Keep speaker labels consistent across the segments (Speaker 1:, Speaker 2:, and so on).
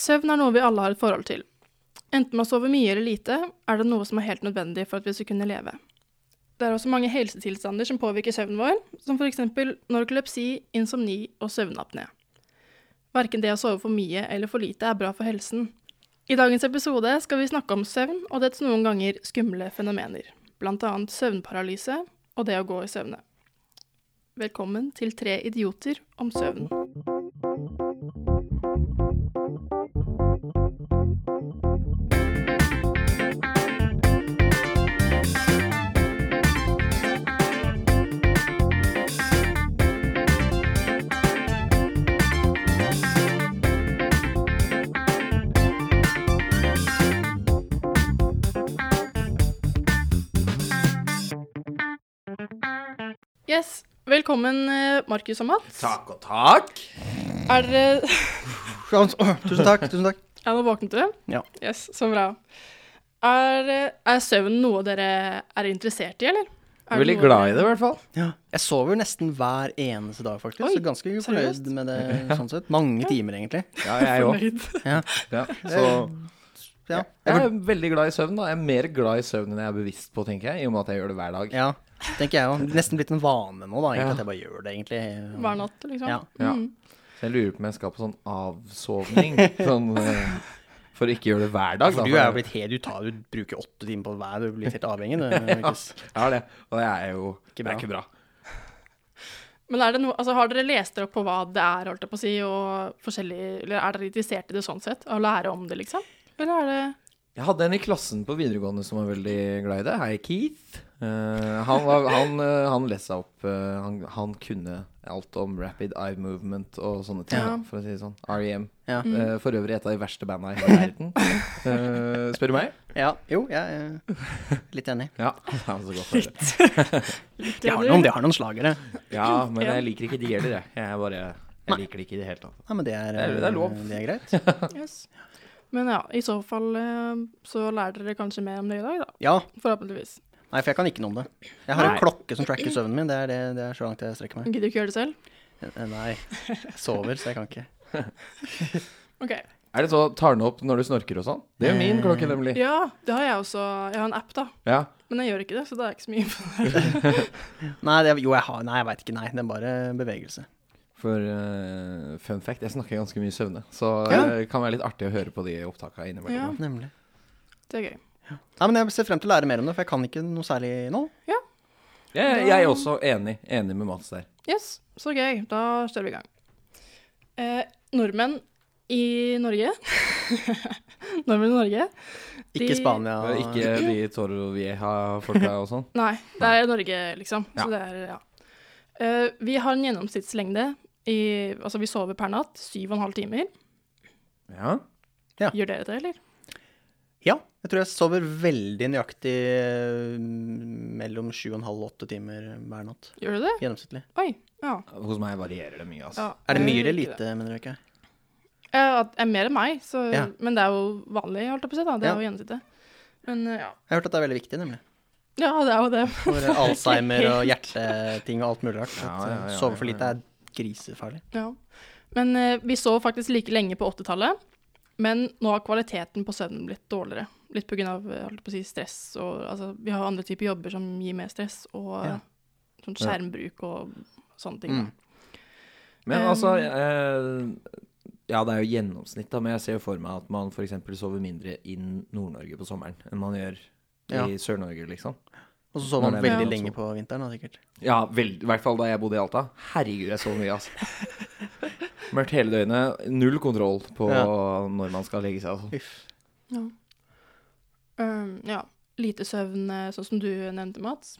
Speaker 1: Søvn er noe vi alle har et forhold til. Enten man sover mye eller lite, er det noe som er helt nødvendig for at vi skal kunne leve. Det er også mange helsetilstander som påvirker søvnen vår, som f.eks. narkolepsi, insomni og søvnapné. Verken det å sove for mye eller for lite er bra for helsen. I dagens episode skal vi snakke om søvn og dets noen ganger skumle fenomener, bl.a. søvnparalyse og det å gå i søvne. Velkommen til Tre idioter om søvn. Yes, Velkommen, eh, Markus og Mats.
Speaker 2: Takk og takk.
Speaker 1: Er dere
Speaker 3: Tusen takk. tusen takk.
Speaker 1: Ja, nå våknet du?
Speaker 3: Ja.
Speaker 1: Yes, så bra. Er, er søvn noe dere er interessert i, eller? Er
Speaker 2: Veldig glad i det, i hvert fall.
Speaker 3: Jeg sover nesten hver eneste dag, faktisk.
Speaker 1: Oi,
Speaker 3: så ganske
Speaker 1: seriøst?
Speaker 3: fornøyd med det sånn sett. Mange timer, egentlig.
Speaker 2: Ja, jeg òg.
Speaker 1: òg.
Speaker 2: Ja, så
Speaker 3: Ja.
Speaker 2: jeg er veldig glad i søvn. da Jeg er mer glad i søvn enn jeg er bevisst på, tenker jeg. I og med at jeg gjør det hver dag.
Speaker 3: ja. Tenker jeg òg. Nesten blitt en vane nå, da, egentlig,
Speaker 2: Ja.
Speaker 3: at jeg bare gjør det, egentlig.
Speaker 1: Hver natt, liksom.
Speaker 3: Ja.
Speaker 2: Ja. Så jeg lurer på om jeg skal på sånn avsovning. Sånn eh, For å ikke gjøre det hver dag.
Speaker 3: For
Speaker 2: da,
Speaker 3: du er jo blitt helt uttatt, du bruker åtte timer på hver, du blir helt avhengig. Du, Markus.
Speaker 2: Jeg har det. Og det er jo Det
Speaker 3: bra.
Speaker 2: er ikke bra.
Speaker 1: Men er det noe, altså, har dere lest dere opp på hva det er, holdt jeg på å si, og forskjellig Eller er dere interessert i det sånn sett? Å lære om det, liksom? Eller er det
Speaker 2: Jeg hadde en i klassen på videregående som var veldig glad i det. Hei, Keith. Eh, han, var, han, eh, han leste seg opp. eh, han, han kunne alt om rapid eye movement og sånne ting,
Speaker 1: Ja.
Speaker 2: for å si det sånn. REM.
Speaker 3: Ja.
Speaker 2: Eh, for øvrig et av de verste banda i hele verden. Eh, spør du meg?
Speaker 3: ja. Jo, jeg er litt enig.
Speaker 2: Ja. det er så godt å høre.
Speaker 3: De har noen, de har noen slagere.
Speaker 2: ja, men jeg liker ikke de heller, jeg. Jeg, bare, jeg liker det ikke i det hele tatt.
Speaker 3: Nei, men det er, eh,
Speaker 2: Det er- det er lov.
Speaker 3: Det er greit.
Speaker 1: Yes. Men ja, i så fall eh, så lærer dere kanskje mer om det i dag, da.
Speaker 3: Ja.
Speaker 1: Forhåpentligvis.
Speaker 3: Nei, for jeg kan ikke noe om det. Jeg har en
Speaker 2: Nei.
Speaker 3: klokke som tracker søvnen min. Det er, det, det er så langt jeg strekker meg.
Speaker 1: Gidder ikke gjøre det selv?
Speaker 3: Eh, Nei. Jeg sover, så jeg kan ikke.
Speaker 1: OK.
Speaker 2: Er det så tar den opp når du snorker og sånn? Det er jo min klokke, nemlig.
Speaker 1: Ja, det har jeg også. Jeg har en app, da.
Speaker 2: Ja.
Speaker 1: Men jeg gjør ikke det, så det er ikke så mye
Speaker 3: Nei, det, jo, jeg har Nei, jeg veit ikke. Nei, det er bare bevegelse.
Speaker 2: For eh, fun fact, jeg snakker ganske mye søvne, så
Speaker 3: Ja.
Speaker 2: det kan være litt artig å høre på de opptakene innimellom.
Speaker 1: Ja.
Speaker 3: Nemlig.
Speaker 1: Det er gøy.
Speaker 3: Nei, men jeg ser frem til å lære mer om det, for jeg kan ikke noe særlig nå.
Speaker 2: Jeg, jeg er også enig, enig med Mats der.
Speaker 1: Yes, så gøy. Da kjører vi i gang. Eh, nordmenn i Norge Nordmenn i Norge?
Speaker 3: Ikke
Speaker 1: De-
Speaker 3: Spania.
Speaker 2: Og Ikke de Toro Vieja-folka og sånn.
Speaker 1: Nei, det er Norge, liksom.
Speaker 2: Ja.
Speaker 1: Så det er, ja. Eh, vi har en gjennomsnittslengde i Altså, vi sover per natt syv og en halv timer.
Speaker 2: Ja.
Speaker 1: Gjør dere det, eller?
Speaker 3: Ja, jeg tror jeg sover veldig nøyaktig eh, mellom sju og en halv og åtte timer hver natt.
Speaker 1: Gjør du det?
Speaker 3: Gjennomsnittlig.
Speaker 1: Oi. Ja.
Speaker 2: Hos meg varierer det mye, altså.
Speaker 1: ja.
Speaker 3: Er det mye
Speaker 1: Jeg gjør
Speaker 3: eller
Speaker 1: ikke det.
Speaker 3: lite, mener du ikke?
Speaker 1: Eh, at- det er mer enn meg, så,
Speaker 3: Ja.
Speaker 1: men det er jo vanlig, holdt jeg på å si. da. Det er
Speaker 3: Ja.
Speaker 1: jo gjennomsnittet. Men eh, ja.
Speaker 3: Jeg har hørt at det er veldig viktig, nemlig.
Speaker 1: Ja, det er jo det.
Speaker 3: For eh, Alzheimer og hjerteting og alt mulig rart.
Speaker 2: Ja,
Speaker 3: At
Speaker 2: ja, ja,
Speaker 3: eh,
Speaker 2: ja,
Speaker 3: sove for
Speaker 2: ja.
Speaker 3: lite er grisefarlig.
Speaker 1: Ja. Men eh, vi sov faktisk like lenge på 80-tallet, men nå har kvaliteten på søvnen blitt dårligere. Litt pga. Si, stress og altså, Vi har andre typer jobber som gir mer stress, og
Speaker 3: Ja.
Speaker 1: sånn skjermbruk og sånne ting.
Speaker 3: Mm.
Speaker 2: Men
Speaker 1: Um,
Speaker 2: altså eh, Ja, det er jo gjennomsnitt, da, men jeg ser jo for meg at man f.eks. sover mindre i Nord-Norge på sommeren enn man gjør i
Speaker 3: Ja.
Speaker 2: Sør-Norge, liksom.
Speaker 3: Og så sover
Speaker 2: Nei,
Speaker 3: man
Speaker 2: det er
Speaker 3: veldig
Speaker 2: det
Speaker 3: lenge
Speaker 2: også.
Speaker 3: på vinteren, da, sikkert.
Speaker 2: Ja, vel, i hvert fall da jeg bodde i Alta. Herregud, jeg sov mye, altså. Mørkt hele døgnet. Null kontroll på
Speaker 3: Ja.
Speaker 2: når man skal legge seg. Altså.
Speaker 3: Uff.
Speaker 1: Ja. Um, ja. Lite søvn, eh, sånn som du nevnte, Mats,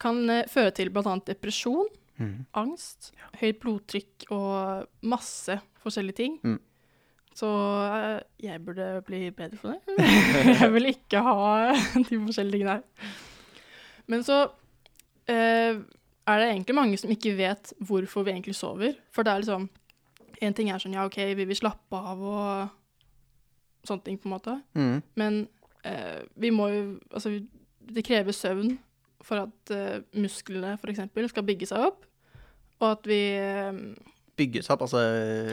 Speaker 1: kan eh, føre til bl.a. depresjon,
Speaker 3: Mhm.
Speaker 1: angst, høyt blodtrykk og masse forskjellige ting.
Speaker 3: Mm.
Speaker 1: Så eh, jeg burde bli bedre for det. jeg vil ikke ha de forskjellige tingene her. Men så eh, er det egentlig mange som ikke vet hvorfor vi egentlig sover. For det er liksom En ting er sånn ja, OK, vi vil slappe av og sånne ting, på en måte.
Speaker 3: Mhm.
Speaker 1: Men eh, vi må jo Altså, vi- det krever søvn for at eh, musklene f.eks. skal bygge seg opp. Og at vi eh,
Speaker 3: Bygges opp, altså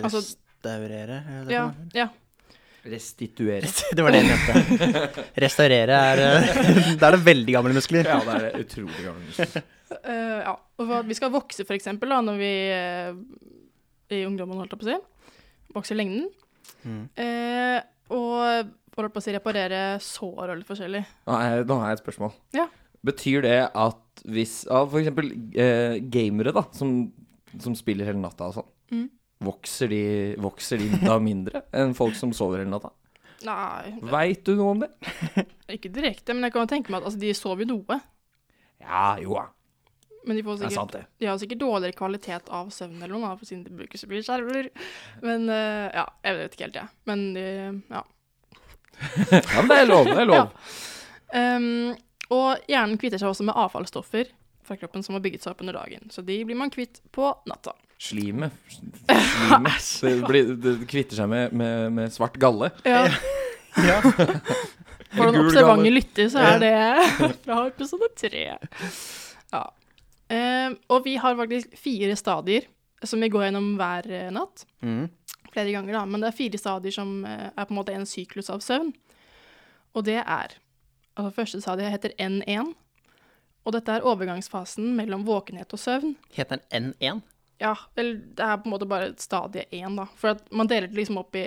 Speaker 1: Altså-
Speaker 3: restaurere? eller hva
Speaker 1: ja,
Speaker 3: det heter.
Speaker 1: ja.
Speaker 2: Restituere.
Speaker 3: Det var det jeg mente. Restaurere er eh, Da er det veldig gamle muskler.
Speaker 2: Ja, det er det utrolig gammelt.
Speaker 1: Eh, ja, og for at vi skal vokse for eksempel da, når vi eh, i ungdommen holdt jeg på å si, vokser i lengden.
Speaker 3: Mm.
Speaker 1: Eh, og holdt på å si reparere sår og litt forskjellig.
Speaker 2: Nå har jeg- nå har jeg et spørsmål.
Speaker 1: Ja.
Speaker 2: Betyr det at hvis ja, For eksempel eh, gamere, da, som, som spiller hele natta og sånn,
Speaker 1: Mm.
Speaker 2: vokser, de, vokser de da mindre enn folk som sover hele natta?
Speaker 1: Nei,
Speaker 2: Veit du noe om det?
Speaker 1: ikke direkte, men jeg kan jo tenke meg at altså, de sover jo noe.
Speaker 2: Ja, jo da.
Speaker 1: Men de, får
Speaker 2: Det er sant,
Speaker 1: sikkert,
Speaker 2: det.
Speaker 1: de har sikkert dårligere kvalitet av søvn eller noe, da, for siden de bruker så mye skjermer. Men eh, ja, jeg vet ikke helt, jeg. Men de, ja.
Speaker 2: Ja, men det er lov. Det er lov.
Speaker 1: Ehm, og hjernen kvitter seg også med avfallsstoffer fra kroppen som har bygget seg opp under dagen. Så de blir man kvitt på natta.
Speaker 2: Slimet. Slimet. Det, blir, det kvitter seg med, med, med svart galle.
Speaker 1: Ja.
Speaker 3: Ja.
Speaker 1: For den
Speaker 2: Gul
Speaker 1: observante
Speaker 2: galle.
Speaker 1: lytter, så er det fra episode tre. Ja. Ehm, og vi har faktisk fire stadier som vi går gjennom hver eh, natt.
Speaker 3: Mm.
Speaker 1: Flere ganger, da. Men det er fire stadier som eh, er på en måte en syklus av søvn. Og det er Altså, første stadie heter N1. Og dette er overgangsfasen mellom våkenhet og søvn.
Speaker 3: Heter den N1?
Speaker 1: Ja, eller det er på en måte bare stadie én, da. For at man deler det liksom opp i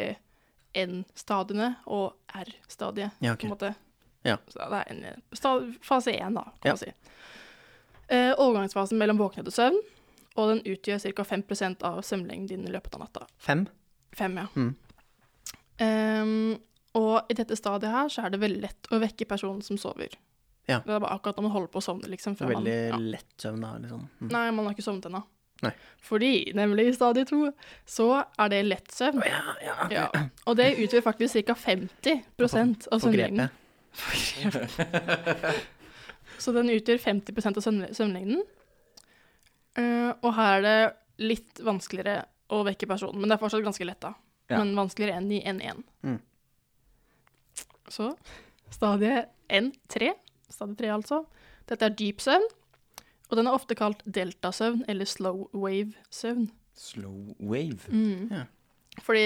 Speaker 1: N-stadiene og R-stadiet,
Speaker 3: Ja,
Speaker 1: på en måte.
Speaker 3: Ja.
Speaker 1: Så det er en, sta- fase én, da, kan
Speaker 3: Ja.
Speaker 1: man si. Eh, overgangsfasen mellom våkenhet og søvn, og den utgjør ca. 5 av søvnlengden din i løpet av natta.
Speaker 3: Fem?
Speaker 1: Fem, ja.
Speaker 3: Mm.
Speaker 1: Ehm, og i dette stadiet her så er det veldig lett å vekke personen som sover.
Speaker 3: Ja.
Speaker 1: Det er bare akkurat når man holder på å sovne, liksom.
Speaker 3: Det
Speaker 1: før
Speaker 3: er
Speaker 1: man-
Speaker 3: veldig
Speaker 1: ja.
Speaker 3: lett søvn, da. Liksom. Mm.
Speaker 1: Nei, man har ikke sovnet ennå.
Speaker 3: Nei.
Speaker 1: Fordi, nemlig i stadie to, så er det lett søvn.
Speaker 3: Ja, ja.
Speaker 1: Ja. Og det utgjør faktisk ca. 50 av
Speaker 3: På
Speaker 1: søvnlengden.
Speaker 3: grepet.
Speaker 1: Så den utgjør 50 av søvn- søvnlengden. Eh, og her er det litt vanskeligere å vekke personen, men det er fortsatt ganske lett, da.
Speaker 2: Ja.
Speaker 1: Men vanskeligere enn i N1.
Speaker 3: Mm.
Speaker 1: Så stadie N3, stadie 3 altså, dette er dyp søvn, og den er ofte kalt deltasøvn eller slow wave-søvn.
Speaker 2: Slow wave.
Speaker 1: Mm.
Speaker 3: Ja.
Speaker 1: Fordi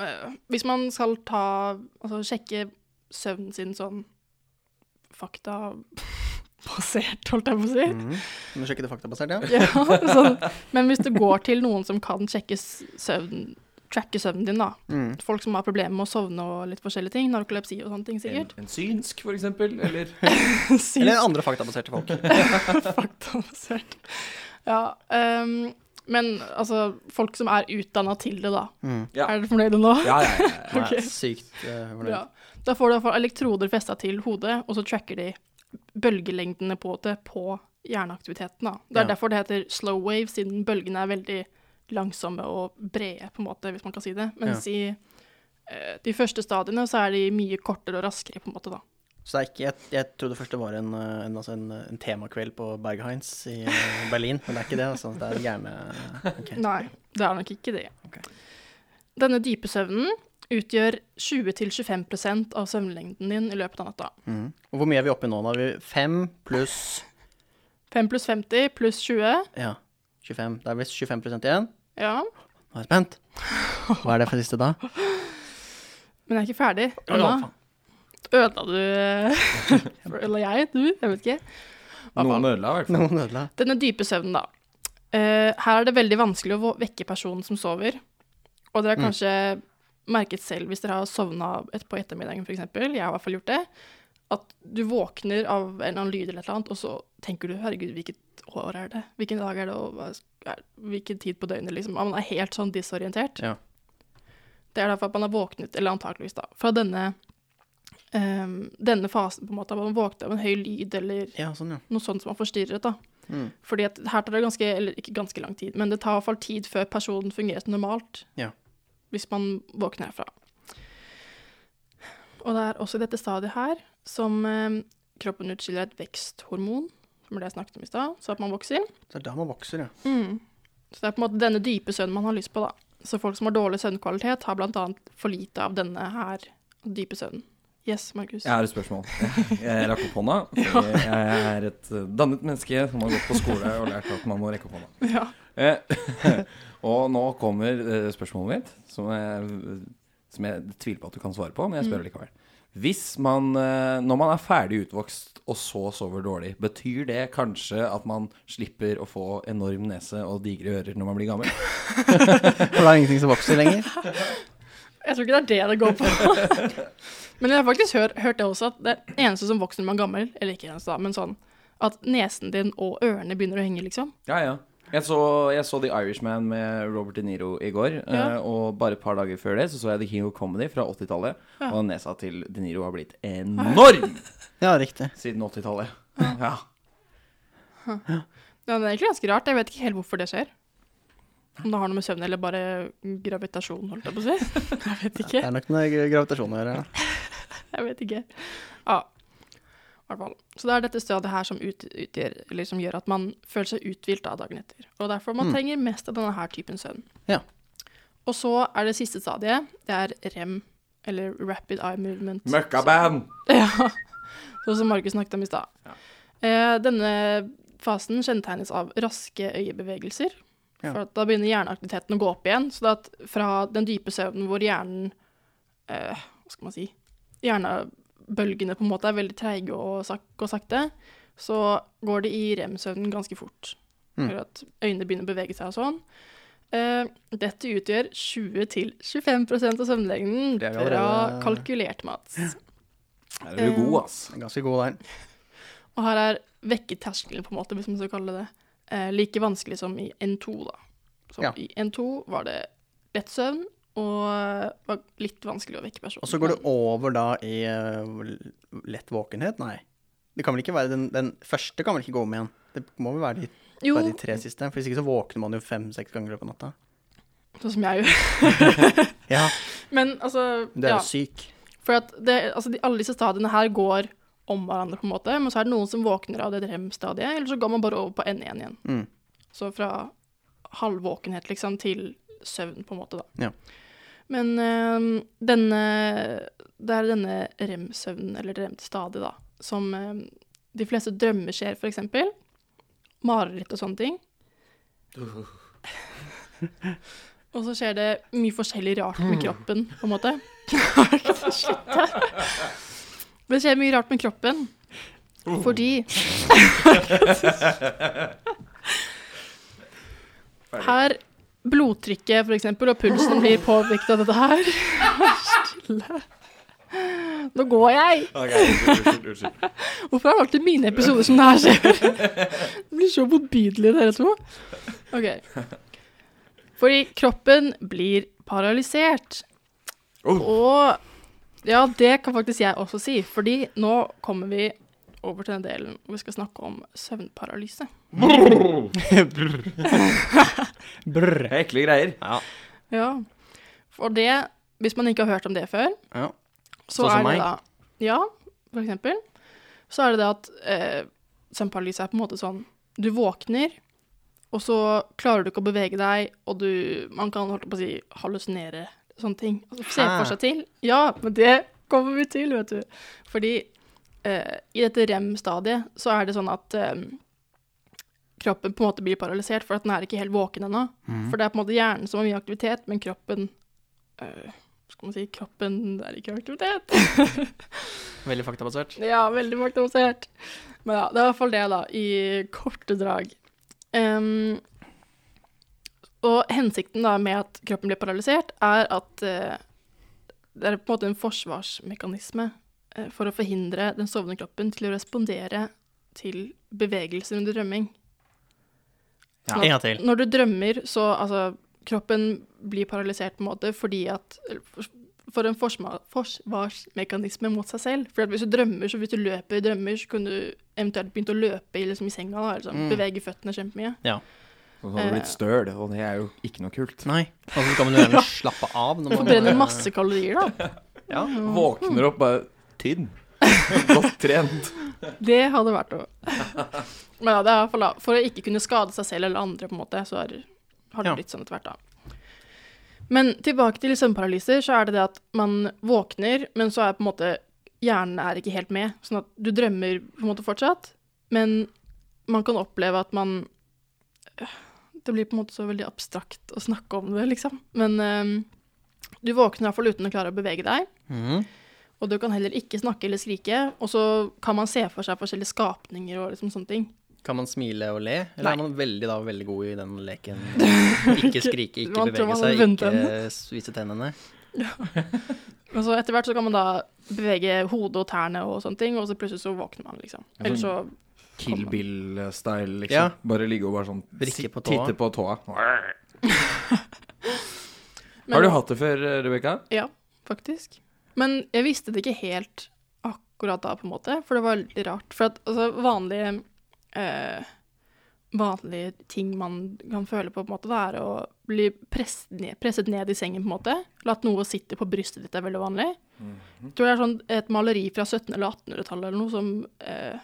Speaker 1: øh, hvis man skal ta Altså sjekke søvnen sin sånn faktabasert, holdt jeg på å si.
Speaker 3: Mm. Må sjekke det faktabasert, ja.
Speaker 1: Ja, sånn. Men hvis du går til noen som kan sjekke s- søvn, tracke søvnen din, da.
Speaker 3: Mm.
Speaker 1: Folk som har problemer med å sovne og litt forskjellige ting. Narkolepsi og sånne ting,
Speaker 2: En,
Speaker 1: sikkert.
Speaker 2: en synsk, for eksempel. Eller
Speaker 1: Syns-
Speaker 3: Eller andre faktabaserte folk.
Speaker 1: faktabasert. Ja. øhm, men altså, folk som er utdanna til det, da.
Speaker 3: Mm.
Speaker 2: Ja.
Speaker 1: Er dere fornøyde nå?
Speaker 2: Ja, ja, ja. ja.
Speaker 3: Nei,
Speaker 1: Ok.
Speaker 3: Sykt eh, fornøyd.
Speaker 1: Bra. Da får du i hvert fall elektroder festa til hodet, og så tracker de bølgelengdene på det på hjerneaktiviteten. Da. Det er
Speaker 3: Ja.
Speaker 1: derfor det heter slow wave, siden bølgene er veldig langsomme og brede, på en måte, hvis man kan si det. Mens i eh, de første stadiene så er de mye kortere og raskere, på en måte, da.
Speaker 3: Så det er ikke, jeg, jeg trodde først det var en, eh, en, altså en, en temakveld på Bergheins i eh, Berlin, men det er ikke det. Altså. Det er gjerne ok.
Speaker 1: Nei, det er nok ikke det.
Speaker 3: Ok.
Speaker 1: Denne dype søvnen utgjør 20-25 av søvnlengden din i løpet av natta.
Speaker 3: mm. Og hvor mye er vi oppe i nå? Nå er vi fem pluss
Speaker 1: 5 pluss 50 pluss 20,
Speaker 3: ja, 25. Det er visst 25 igjen.
Speaker 1: ja.
Speaker 3: Nå er jeg spent. Hva er det for siste da?
Speaker 1: Men jeg er ikke ferdig.
Speaker 3: Å,
Speaker 1: ennå.
Speaker 3: ja, faen.
Speaker 1: Ødela du eh, Eller jeg? Du? Jeg vet ikke. Hva faen?
Speaker 2: Noen ødela, i hvert fall.
Speaker 3: Noen ødela.
Speaker 1: Denne dype søvnen, da. Eh, her er det veldig vanskelig å vå- vekke personen som sover. Og dere har kanskje merket selv hvis dere har sovna et på ettermiddagen, f.eks. Jeg har i hvert fall gjort det. At du våkner av en eller annen lyd eller et eller annet, og så tenker du 'herregud, hvilket år er det? Hvilken dag er det? Og hva sk- er, hvilken tid på døgnet?' liksom. Man er helt sånn disorientert.
Speaker 3: Ja.
Speaker 1: Det er derfor at man har våknet, eller antakeligvis da, fra denne, eh, denne fasen, på en måte. at Man våkner av en høy lyd eller
Speaker 3: Ja, sånn, ja.
Speaker 1: noe sånt som har forstyrret, da.
Speaker 3: Mm.
Speaker 1: Fordi at her tar det ganske, eller ikke ganske lang tid, men det tar i hvert fall tid før personen fungerer som normalt.
Speaker 3: Ja.
Speaker 1: Hvis man våkner herfra. Og det er også i dette stadiet her som eh, kroppen utskiller et veksthormon, som var det jeg snakket om i stad, så at man vokser.
Speaker 3: Så det er da man vokser, ja.
Speaker 1: Så det er på en måte denne dype søvnen man har lyst på, da. Så folk som har dårlig søvnkvalitet, har blant annet for lite av denne her dype søvnen. Yes, Markus.
Speaker 2: Jeg har et spørsmål. Jeg rakk opp hånda. fordi Jeg er et eh, dannet menneske som har gått på skole og lært at man må rekke opp hånda.
Speaker 1: Ja.
Speaker 2: Eh, Og nå kommer eh, spørsmålet mitt, som er som jeg tviler på at du kan svare på, men
Speaker 1: Mm.
Speaker 2: jeg spør likevel. Hvis man, eh, når man er ferdig utvokst og så sover dårlig, betyr det kanskje at man slipper å få enorm nese og digre ører når man blir gammel?
Speaker 3: For det er ingenting som vokser lenger.
Speaker 1: Jeg tror ikke det er det det går på. men jeg har faktisk hør, hørt det også, at det eneste som vokser når man er gammel, eller ikke eneste da, men sånn, at nesen din og ørene begynner å henge, liksom.
Speaker 2: Ja, ja. Jeg så, jeg så The Irishman med Robert De Niro i går.
Speaker 1: Ja.
Speaker 2: eh, Og bare et par dager før det så så jeg The King of Comedy fra 80-tallet.
Speaker 1: Ja.
Speaker 2: Og nesa til De Niro har blitt enorm
Speaker 3: Ja, riktig.
Speaker 2: siden 80-tallet. Ja.
Speaker 1: Ja, det er egentlig ganske rart. Jeg vet ikke helt hvorfor det skjer. Om det har noe med søvn eller bare gravitasjon, holdt jeg på å si. Jeg vet
Speaker 3: Det
Speaker 1: ikke.
Speaker 3: er nok med gravitasjon å gjøre. da.
Speaker 1: Jeg vet ikke. Ja, i hvert fall. Så det er dette stadiet her som, ut, utgjør, eller som gjør at man føler seg uthvilt da dagen etter. Og derfor man
Speaker 3: Mm.
Speaker 1: trenger mest av denne her typen søvn.
Speaker 3: Ja.
Speaker 1: Og så er det siste stadiet, det er REM, eller Rapid Eye Movement.
Speaker 2: Møkkaband!
Speaker 1: Ja, sånn som Markus snakket om i stad.
Speaker 2: Ja.
Speaker 1: Eh, denne fasen kjennetegnes av raske øyebevegelser.
Speaker 3: Ja.
Speaker 1: For at da begynner hjerneaktiviteten å gå opp igjen. Så det at fra den dype søvnen hvor hjernen eh, Hva skal man si Hjernebølgene på en måte er veldig treige og sak går sakte, så går det i REM-søvnen ganske fort.
Speaker 3: Mm.
Speaker 1: Eller at øynene begynner å bevege seg og sånn. Eh, dette utgjør 20-25 av søvnlengden.
Speaker 3: Det er jo
Speaker 1: Bra
Speaker 3: allerede-
Speaker 1: kalkulert, Mats.
Speaker 2: Her er du god,
Speaker 1: Eh.
Speaker 2: ass.
Speaker 3: Det er Ganske god der.
Speaker 1: Og her er vekketerskelen, på en måte, hvis man skal kalle det det, eh, like vanskelig som i N2, da. Så
Speaker 3: Ja.
Speaker 1: i N2 var det lett søvn, og eh, var litt vanskelig å vekke personen.
Speaker 3: Og så går det over da i eh, lett våkenhet? Nei. Det kan vel ikke være den, den første kan vel ikke gå om igjen? Det må vel være de,
Speaker 1: Jo,
Speaker 3: bare de tre siste? For hvis ikke så våkner man jo fem-seks ganger i løpet av natta.
Speaker 1: sånn som jeg gjør.
Speaker 3: Ja,
Speaker 1: Men altså,
Speaker 3: Du er
Speaker 1: ja.
Speaker 3: jo syk.
Speaker 1: For at det, altså, de, alle disse stadiene her går om hverandre, på en måte, men så er det noen som våkner av det REM-stadiet, eller så går man bare over på N1 igjen.
Speaker 3: Mm.
Speaker 1: Så fra halvvåkenhet liksom til søvn, på en måte, da.
Speaker 3: Ja.
Speaker 1: Men eh, denne Det er denne REM-søvnen, eller REM-stadiet, da, som eh, de fleste drømmer skjer, for eksempel. Mareritt og sånne ting. og så skjer det mye forskjellig rart med kroppen, på en måte. Shit. Det skjer mye rart med kroppen. Fordi Her blodtrykket for eksempel, og pulsen blir påvirket av dette her. Vær Stille. Nå går jeg! Hvorfor er det alltid mine episoder som det her skjer? Det blir så motbydelig, dere to. Ok. Fordi kroppen blir paralysert. Og ja, det kan faktisk jeg også si, fordi nå kommer vi over til den delen hvor vi skal snakke om søvnparalyse.
Speaker 3: Brr.
Speaker 2: Ekle greier.
Speaker 3: Ja.
Speaker 1: Ja. For det, hvis man ikke har hørt om det før,
Speaker 3: ja.
Speaker 1: så
Speaker 3: Sånn som
Speaker 1: er det
Speaker 3: meg?
Speaker 1: da Ja, for eksempel. Så er det det at eh, søvnparalyse er på en måte sånn Du våkner, og så klarer du ikke å bevege deg, og du Man kan holdt på å si hallusinere sånne ting. Altså, se
Speaker 3: Hæ?
Speaker 1: for seg til. Ja, men det kommer vi til, vet du. Fordi eh, i dette REM-stadiet så er det sånn at eh, kroppen på en måte blir paralysert, for at den er ikke helt våken ennå.
Speaker 3: Mm. Mhm.
Speaker 1: For det er på en måte hjernen som har mye aktivitet, men kroppen eh, Skal man si kroppen det er ikke aktivitet.
Speaker 3: Veldig faktabasert.
Speaker 1: Ja, veldig marknadsert. Men ja, det er i hvert fall det, da, i korte drag. Ehm, og hensikten da med at kroppen blir paralysert, er at eh, det er på en måte en forsvarsmekanisme eh, for å forhindre den sovende kroppen til å respondere til bevegelser under drømming.
Speaker 3: Ja.
Speaker 1: Sånn
Speaker 3: En
Speaker 1: at
Speaker 3: gang til.
Speaker 1: Når du drømmer, så altså Kroppen blir paralysert på en måte fordi at eller for- For en forsma, forsvarsmekanisme mot seg selv. For at hvis du drømmer, så hvis du løper i drømmer, så kunne du eventuelt begynt å løpe i, liksom, i senga. Da, eller sånn.
Speaker 3: Mm.
Speaker 1: Bevege føttene kjempemye.
Speaker 2: Og så har du
Speaker 1: Eh.
Speaker 2: blitt støl, og det er jo ikke noe kult.
Speaker 3: Nei. Og så kan man jo gjerne slappe av. Når man
Speaker 1: Forbrenner masse kalorier, da.
Speaker 3: Ja.
Speaker 1: Mm.
Speaker 2: Våkner opp bare tynn. Godt trent.
Speaker 1: Det hadde vært noe. Men ja, det er i hvert fall da. For å ikke kunne skade seg selv eller andre, på en måte, så er, har det
Speaker 3: Ja.
Speaker 1: blitt sånn etter hvert, da. Men tilbake til søvnparalyser, så er det det at man våkner, men så er på en måte hjernen er ikke helt med. Sånn at du drømmer på en måte fortsatt, men man kan oppleve at man Det blir på en måte så veldig abstrakt å snakke om det, liksom. Men eh, Du våkner iallfall uten å klare å bevege deg,
Speaker 3: Mhm.
Speaker 1: og du kan heller ikke snakke eller skrike. Og så kan man se for seg forskjellige skapninger og liksom sånne ting.
Speaker 3: Kan man smile og le, eller
Speaker 1: Nei.
Speaker 3: er man veldig, da, veldig god i den leken? Ikke skrike, ikke
Speaker 1: Man tror
Speaker 3: bevege
Speaker 1: man
Speaker 3: seg,
Speaker 1: har vunnet
Speaker 3: ikke
Speaker 1: henne.
Speaker 3: svise tennene.
Speaker 1: Men så etter hvert så kan man da bevege hodet og tærne og sånne ting, og så plutselig så våkner man, liksom.
Speaker 2: Ja,
Speaker 1: Eller så
Speaker 2: sånn- Kill Bill-style, liksom.
Speaker 3: Ja.
Speaker 2: Bare ligge og bare sånn
Speaker 3: Vrikke på
Speaker 2: sit- titte
Speaker 3: tåa.
Speaker 2: på tåa.
Speaker 1: Men-
Speaker 2: Har du hatt det før, eh, Rebekka?
Speaker 1: Ja, faktisk. Men jeg visste det ikke helt akkurat da, på en måte, for det var litt rart. For at altså, vanlige eh, Vanlige ting man kan føle på, på en måte, det er å bli presset ned, presset ned i sengen, på en måte. Eller at noe sitter på brystet ditt, er veldig vanlig.
Speaker 3: Mhm.
Speaker 1: Jeg tror det er sånn et maleri fra 1700- eller 1800-tallet eller noe som eh,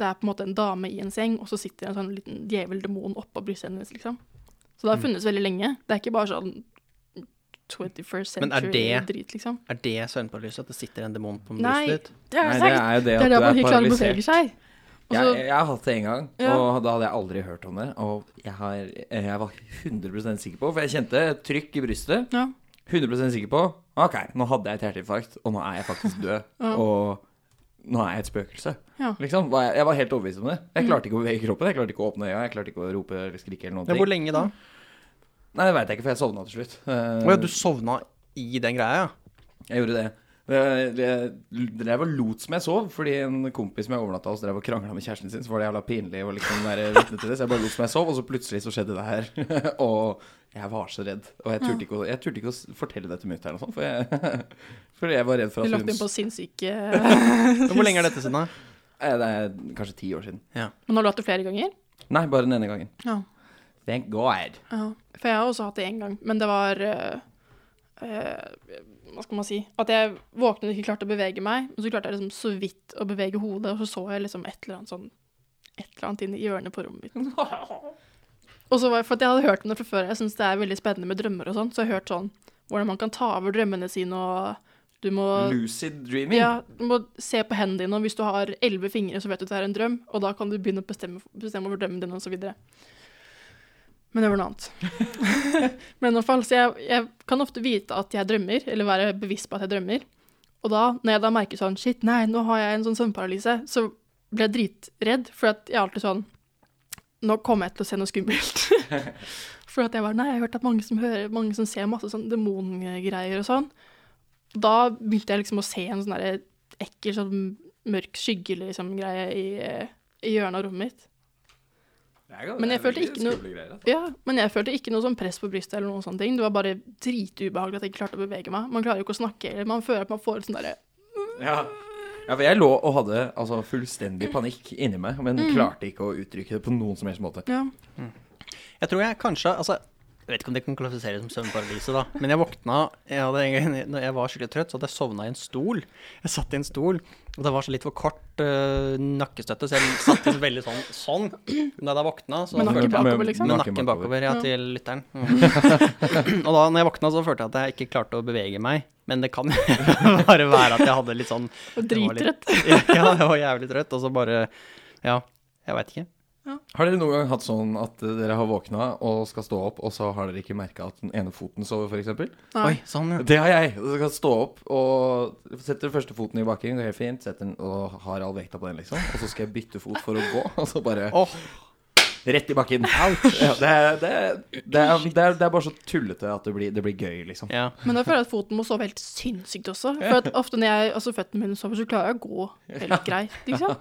Speaker 1: Det er på en måte en dame i en seng, og så sitter en sånn liten djeveldemon oppå brystet hennes, liksom. Så
Speaker 3: Mm.
Speaker 1: det har funnes veldig lenge. Det er ikke bare sånn 21st
Speaker 3: Men er det-
Speaker 1: century-drit, liksom.
Speaker 3: Er det søvnparalyse, at det sitter en demon på
Speaker 1: Nei.
Speaker 3: brystet ditt?
Speaker 1: Det er, jo
Speaker 2: Nei, det
Speaker 1: sant.
Speaker 2: er jo det
Speaker 1: det
Speaker 2: at
Speaker 1: er
Speaker 2: du
Speaker 1: da man
Speaker 2: er
Speaker 1: ikke klarer å bevege
Speaker 2: paralysert.
Speaker 1: seg. Og så-
Speaker 2: Jeg, jeg har hatt det en gang,
Speaker 1: Altså- Ja.
Speaker 2: og da hadde jeg aldri hørt om det. Og jeg, har, eh, jeg var 100 sikker på, for jeg kjente et trykk i brystet.
Speaker 1: ja.
Speaker 2: 100 sikker på OK, nå hadde jeg et hjerteinfarkt, og nå er jeg faktisk død.
Speaker 1: Ja.
Speaker 2: Og nå er jeg et spøkelse.
Speaker 1: Ja.
Speaker 2: Liksom, var jeg, jeg var helt overbevist om det. Jeg klarte ikke å bevege kroppen, jeg klarte ikke å åpne øya, jeg klarte ikke å rope eller skrike eller noen
Speaker 3: Ja, hvor
Speaker 2: ting.
Speaker 3: lenge da?
Speaker 2: Nei, det veit jeg ikke, for jeg sovna til slutt. Eh,
Speaker 3: Å ja, du sovna i den greia, ja.
Speaker 2: Jeg gjorde det. Jeg jeg drev og lot som jeg sov, fordi en kompis som jeg overnatta hos, drev og krangla med kjæresten sin, så var det jævla pinlig å liksom være vitne til det. Så jeg bare lot som jeg sov, og så plutselig så skjedde det her. og jeg var så redd. Og jeg turte ikke å, jeg turte ikke å s- fortelle det til mutter'n og sånn, for, jeg- for jeg var redd for
Speaker 1: Vi
Speaker 2: at
Speaker 1: lagt
Speaker 2: hun
Speaker 1: inn på
Speaker 2: s-
Speaker 1: sinnssyke
Speaker 3: Men hvor lenge er dette siden, da?
Speaker 2: Eh, Det er kanskje ti år siden.
Speaker 1: Men har du hatt det flere ganger?
Speaker 2: Nei, bare den ene gangen.
Speaker 1: Ja.
Speaker 2: Thank God.
Speaker 1: Ja, for jeg har også hatt det én gang, men det var eh, eh, Hva skal man si At jeg våknet og ikke klarte å bevege meg, men så klarte jeg liksom så vidt å bevege hodet, og så så jeg liksom et eller annet sånn Et eller annet inni hjørnet på rommet mitt. Og så var jeg, for at jeg hadde hørt om det fra før, jeg syns det er veldig spennende med drømmer og sånn, så jeg har hørt sånn hvordan man kan ta over drømmene sine, og du må
Speaker 2: Lucid dreaming.
Speaker 1: ja, du må se på hendene dine, og hvis du har elleve fingre, så vet du at det er en drøm, og da kan du begynne å bestemme, bestemme over drømmen din, og så videre. Men det var noe annet. Men i hvert fall, så jeg, jeg kan ofte vite at jeg drømmer, eller være bevisst på at jeg drømmer. Og da, når jeg da merker sånn, shit, nei, nå har jeg en sånn søvnparalyse, så blir jeg dritredd, for at jeg er alltid sånn, nå kommer jeg til å se noe skummelt. for at jeg var, nei, jeg har hørt at mange som hører, mange som ser masse sånn demongreier og sånn. Da begynte jeg liksom å se en sånn der ekkel, sånn mørk skygge liksom greie i, i hjørnet av rommet mitt. Men jeg følte ikke noe- Ja, men jeg følte ikke noe sånn press på brystet eller noen sånne ting. Det var bare dritubehagelig at jeg ikke klarte å bevege meg. Man klarer jo ikke å snakke, eller man føler at man får et sånn derre
Speaker 2: altså. Ja. ja, for jeg lå og hadde altså, fullstendig panikk inni meg, men
Speaker 1: Mm.
Speaker 2: klarte ikke å uttrykke det på noen som helst måte.
Speaker 1: Ja.
Speaker 3: Jeg tror jeg kanskje Altså, jeg vet ikke om det kan kvalifiseres som søvnparalyse, da. Men jeg våkna jeg hadde en gang, Når jeg var skikkelig trøtt, så hadde jeg sovna i en stol. Jeg satt i en stol, og det var så litt for kort øh, nakkestøtte, så jeg satt liksom veldig sånn. sånn. Da jeg da våkna, så
Speaker 1: Men nakken
Speaker 2: Med- med-
Speaker 1: bakover, liksom?
Speaker 3: med
Speaker 2: nakken
Speaker 3: nakken bakover, ja, til lytteren. Mm. og da når jeg våkna, så følte jeg at jeg ikke klarte å bevege meg. Men det kan bare være at jeg hadde litt sånn
Speaker 1: Og
Speaker 3: det var litt-
Speaker 1: dritrett.
Speaker 3: Ja, jeg var jævlig trøtt, og så bare Ja, jeg veit ikke.
Speaker 2: Har dere noen gang hatt sånn at eh, dere har våkna og skal stå opp, og så har dere ikke merka at den ene foten sover, f.eks.?
Speaker 1: Nei.
Speaker 3: Oi, sånn, ja.
Speaker 2: Det har jeg. Du skal stå opp og setter første foten i bakken, går helt fint, setter den og har all vekta på den, liksom. Og så skal jeg bytte fot for å gå, og så bare
Speaker 3: Åh.
Speaker 2: Rett i bakken. Ja, det, er- det, er- det, er, det, er, det er bare så tullete at det blir, det blir gøy, liksom.
Speaker 3: Ja.
Speaker 1: Men da føler jeg at foten må sove helt sinnssykt også. For at ofte når jeg, altså føttene mine sover, så klarer jeg å gå helt greit, liksom.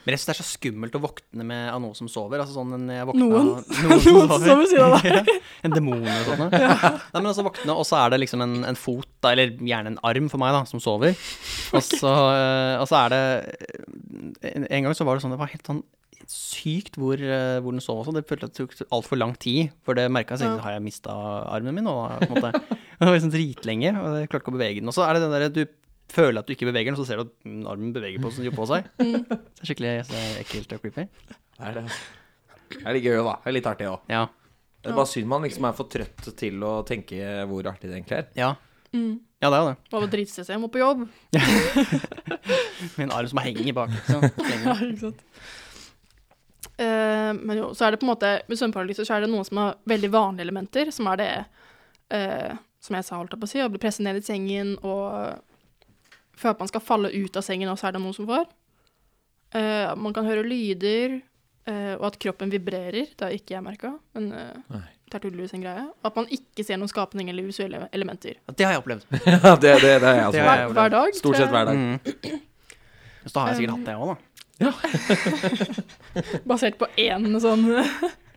Speaker 3: Men jeg synes det er så skummelt å våkne med av noe som sover. Altså sånn en- jeg våkna,
Speaker 1: Noen.
Speaker 3: noen
Speaker 1: Noen som sover, sier
Speaker 3: Ja, en demon eller sånt. Nei, men altså våkne, og så er det liksom en, en fot, da, eller gjerne en arm for meg, da, som sover. Og så, eh, og så er det en, en gang så var det sånn, det var helt sånn sykt hvor, eh, hvor den sov også. Det følte jeg tok altfor lang tid, for det merka jeg. Så,
Speaker 1: Ja.
Speaker 3: Har jeg mista armen min nå? På en måte. Det var liksom dritlenge, og jeg klarte ikke å bevege den. Og så er det den derre du føler at du ikke beveger den, så ser du at mm, armen beveger på, på seg. Det er skikkelig så det er ekkelt og creepy.
Speaker 2: Det er det. altså. Det er litt gøy, da. Det er litt artig òg.
Speaker 3: Ja.
Speaker 2: Det er bare synd man liksom er for trøtt til å tenke hvor artig det egentlig er.
Speaker 3: Ja,
Speaker 1: Mm.
Speaker 3: ja det er jo det.
Speaker 1: Bare dritstressa, jeg må på jobb.
Speaker 3: Med en arm som henger bak. Liksom.
Speaker 1: Ja,
Speaker 3: Lenge.
Speaker 1: ikke sant. Eh, men jo, så er det på en måte Med søvnparalyse så er det noen som har veldig vanlige elementer, som er det eh, som jeg sa, holdt jeg på å si, å bli presset ned i sengen og føle at man skal falle ut av sengen, og så er det noen som får. Eh, man kan høre lyder, eh, og at kroppen vibrerer. Det har ikke jeg merka, men eh,
Speaker 2: Nei.
Speaker 1: det er tydeligvis en greie. At man ikke ser noen skapning eller visuelle elementer.
Speaker 3: Ja, det har jeg opplevd.
Speaker 2: Ja, det, det, det er jeg
Speaker 3: Det
Speaker 2: altså.
Speaker 3: er-
Speaker 1: Hver, hver dag. tror
Speaker 2: Stort sett
Speaker 1: jeg.
Speaker 2: hver dag.
Speaker 3: Mm. Så da har jeg sikkert hatt det òg, da.
Speaker 1: Basert på én sånn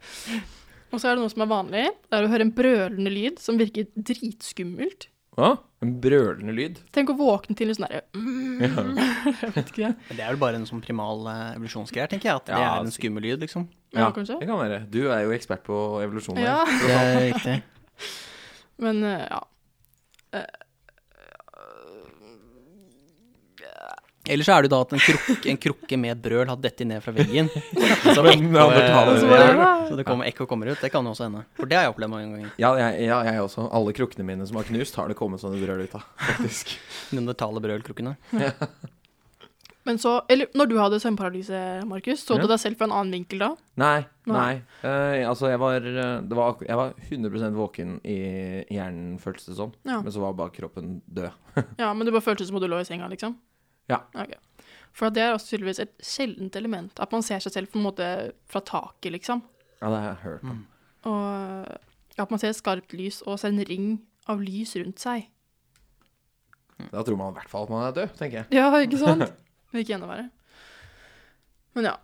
Speaker 1: Og så er det noe som er vanlig. Det er å høre en brølende lyd som virker dritskummelt.
Speaker 2: Å, en brølende lyd.
Speaker 1: Tenk å våkne til en sånn derre mm, Jeg vet ikke.
Speaker 3: Men det er vel bare en sånn primal eh, evolusjonsgreier, tenker jeg. At det
Speaker 2: Ja,
Speaker 3: er en
Speaker 2: sikkert.
Speaker 3: skummel lyd, liksom.
Speaker 1: Ja, kanskje.
Speaker 2: Det kan være. Du er jo ekspert på evolusjon. her.
Speaker 1: Ja,
Speaker 3: Det er riktig.
Speaker 1: men eh, ja.
Speaker 3: Ellers så er det jo da at en krukke, en krukke med et brøl har dettet ned fra veggen. Så
Speaker 2: neandertaler.
Speaker 3: så
Speaker 1: Ja.
Speaker 3: så det kommer ekko kommer ut. Det kan jo også hende. For det har jeg opplevd mange ganger.
Speaker 2: Ja, jeg, ja, jeg også. Alle krukkene mine som har knust, har det kommet sånne brøl ut av, faktisk.
Speaker 3: Neandertale brølkrukkene.
Speaker 1: Men så, eller når du hadde søvnparalyse, Markus, så du
Speaker 2: Ja.
Speaker 1: deg selv fra en annen vinkel da?
Speaker 2: Nei, nei.
Speaker 1: Nei.
Speaker 2: Eh, altså, jeg var, eh, det var, akkur- jeg var 100 våken i hjernen, føltes det som.
Speaker 1: Ja.
Speaker 2: Men så var bare kroppen død.
Speaker 1: Ja, men det bare føltes som om du lå i senga, liksom?
Speaker 2: Ja.
Speaker 1: Ok. For at det er også tydeligvis et sjeldent element, at man ser seg selv på en måte fra taket, liksom.
Speaker 2: Ja, det har jeg hørt.
Speaker 3: Mm.
Speaker 2: om.
Speaker 1: Og at man ser skarpt lys og ser en ring av lys rundt seg.
Speaker 2: Da tror man i hvert fall at man er død, tenker jeg.
Speaker 1: Ja, ikke sant? Det vil ikke enda verre. Men ja.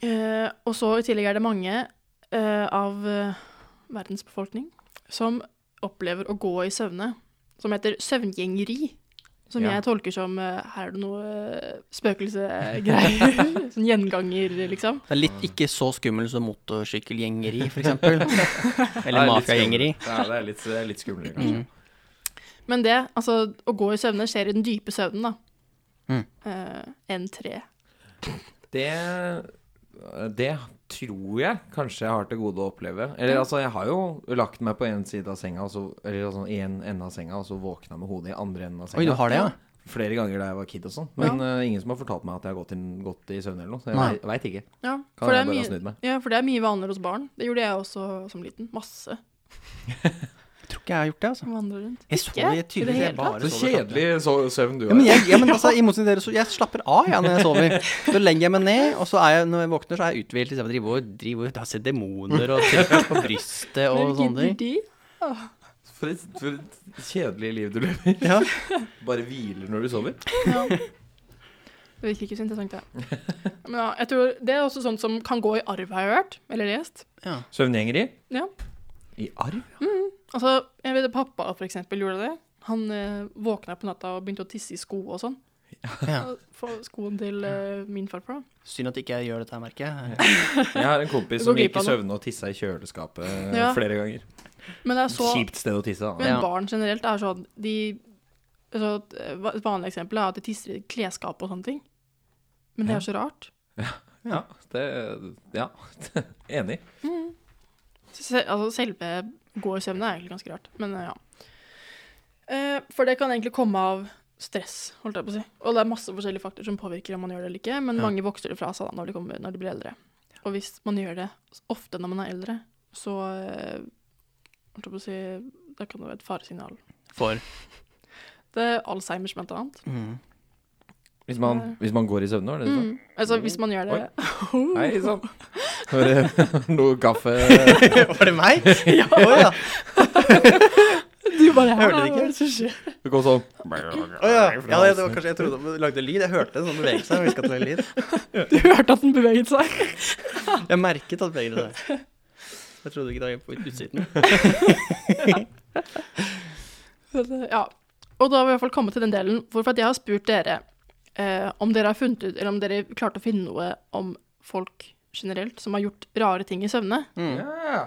Speaker 1: Eh, og så i tillegg er det mange eh, av eh, verdens befolkning som opplever å gå i søvne, som heter søvngjengeri. Som
Speaker 2: Ja.
Speaker 1: jeg tolker som eh, her er det noe eh, spøkelsegreier. sånn gjenganger, liksom.
Speaker 3: Det er litt ikke så skummel som motorsykkelgjengeri, f.eks.
Speaker 2: Det er
Speaker 3: Eller
Speaker 2: litt
Speaker 3: mafiagjengeri.
Speaker 2: skummelt. Ja, det er litt, det er litt skumlere, kanskje.
Speaker 3: Mm.
Speaker 1: Men det, altså å gå i søvne, skjer i den dype søvnen, da.
Speaker 3: Mm.
Speaker 1: Eh, enn tre.
Speaker 2: Det, det tror jeg kanskje jeg har til gode å oppleve. Eller altså, jeg har jo lagt meg på en side av senga, og så- eller altså en ende av senga, og så våkna med hodet i andre enden av senga.
Speaker 3: Oi, du har det, ja?
Speaker 2: Flere ganger da jeg var kid og sånn. Men eh, ingen som har fortalt meg at jeg har gått, inn, gått i søvn eller noe, så
Speaker 3: Nei.
Speaker 2: jeg veit ikke.
Speaker 1: Ja,
Speaker 2: Kan
Speaker 1: for det
Speaker 2: jeg
Speaker 1: er
Speaker 2: bare ha
Speaker 1: mye-
Speaker 2: snudd meg.
Speaker 1: ja, for det er mye vanligere hos barn. Det gjorde jeg også som liten. Masse.
Speaker 3: Jeg tror ikke jeg har gjort det, altså.
Speaker 1: Vandre rundt.
Speaker 3: Jeg så
Speaker 1: Ikke?
Speaker 3: det
Speaker 1: I det
Speaker 3: tydelig.
Speaker 1: hele
Speaker 3: Jeg bare
Speaker 2: Så
Speaker 3: så det klart.
Speaker 2: kjedelig so- søvn du
Speaker 3: Ja, men jeg, ja, men altså, I motsetning til dere, så jeg slapper av ja, når jeg sover. Så legger jeg meg ned, og så er jeg, når jeg våkner, så er jeg uthvilt. Liksom, driver og driver og har sett demoner og trykker på brystet og sånne ting.
Speaker 2: For et, for et kjedelig liv du lever.
Speaker 3: Ja.
Speaker 2: Bare hviler når du sover.
Speaker 1: Ja. Det virker ikke så interessant, det. Men ja, jeg tror det er også sånt som kan gå i arv, har jeg hørt. Eller lest.
Speaker 3: Ja.
Speaker 2: Søvngjengeri?
Speaker 1: Ja.
Speaker 2: I arv?
Speaker 1: Altså, jeg vet at pappa for eksempel gjorde det. Han eh, våkna på natta og begynte å tisse i sko og sånn.
Speaker 3: Ja.
Speaker 1: Og Få skoen til eh, min farfar, da.
Speaker 3: Synd at ikke jeg gjør dette her, merker jeg.
Speaker 2: Jeg har en kompis
Speaker 1: Du
Speaker 2: som
Speaker 1: går
Speaker 2: gikk
Speaker 1: glipp
Speaker 2: i
Speaker 1: av noe.
Speaker 2: søvne og tissa i kjøleskapet eh,
Speaker 1: Ja.
Speaker 2: flere ganger.
Speaker 1: Men det er så
Speaker 2: Kjipt sted å tisse, da.
Speaker 1: Men
Speaker 3: Ja.
Speaker 1: barn generelt er sånn de, altså, Et vanlig eksempel er at de tisser i klesskap og sånne ting. Men det er så rart.
Speaker 2: Ja, det, ja. Enig.
Speaker 1: Mm. Se- altså, selve gå-i-søvne er egentlig ganske rart, men eh, ja. Eh, for det kan egentlig komme av stress, holdt jeg på å si. Og det er masse forskjellige faktorer som påvirker om man gjør det eller ikke, men
Speaker 3: Ja.
Speaker 1: mange vokser det fra seg da når de, kommer, når de blir eldre. Og hvis man gjør det ofte når man er eldre, så eh, holdt jeg på å si, det kan det være et faresignal.
Speaker 3: For
Speaker 1: Det er Alzheimers blant annet.
Speaker 3: mm.
Speaker 2: Hvis man, hvis man går i søvne, var det det du sa?
Speaker 1: Mm. Altså hvis man gjør det
Speaker 2: Nei, sånn. Hører noe gaffe
Speaker 3: Var det meg? Ja. Å ja.
Speaker 1: Du bare
Speaker 3: Hørte det
Speaker 1: Hva er
Speaker 3: ikke.
Speaker 1: det som skjer?
Speaker 2: Det går sånn
Speaker 3: Å ja. ja, det var kanskje jeg trodde du lagde lyd. Jeg hørte en sånn bevegelse. Jeg, hvisket til en lyd.
Speaker 1: Du hørte at den beveget seg.
Speaker 3: jeg merket at begge det der. Jeg trodde ikke det var på utsiden.
Speaker 1: Ja. Og da har vi i hvert fall kommet til den delen hvorfor at jeg har spurt dere eh, om dere har funnet ut, eller om dere klarte å finne noe om folk generelt som har gjort rare ting i søvne.
Speaker 3: Mm.
Speaker 2: Ja.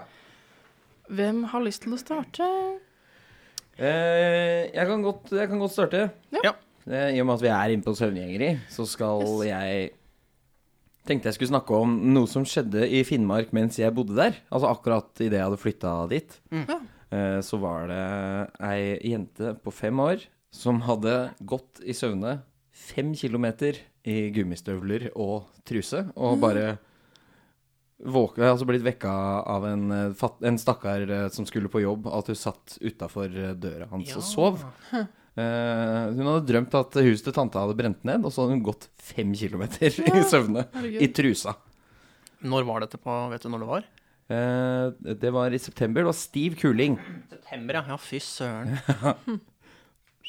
Speaker 1: Hvem har lyst til å starte?
Speaker 2: Eh, jeg, kan godt, jeg kan godt starte.
Speaker 1: Ja.
Speaker 3: Ja.
Speaker 2: Eh, I og med at vi er inne på søvngjengeri, så skal
Speaker 1: Yes.
Speaker 2: jeg Tenkte jeg skulle snakke om noe som skjedde i Finnmark mens jeg bodde der. Altså akkurat idet jeg hadde flytta dit.
Speaker 3: Mm.
Speaker 1: Ja.
Speaker 2: Eh, så var det ei jente på fem år som hadde gått i søvne fem kilometer i gummistøvler og truse, og bare våk- jeg har altså blitt vekka av en, eh, fatt, en stakkar eh, som skulle på jobb, at hun satt utafor eh, døra
Speaker 3: Mm.
Speaker 2: hans og sov. Eh, hun hadde drømt at huset til tanta hadde brent ned, og så hadde hun gått fem kilometer i søvne. I
Speaker 1: Herregud.
Speaker 2: trusa.
Speaker 3: Når var dette på Vet du når det var?
Speaker 2: Eh, det var i september. Det var stiv kuling.
Speaker 3: September, ja. Ja, fy søren.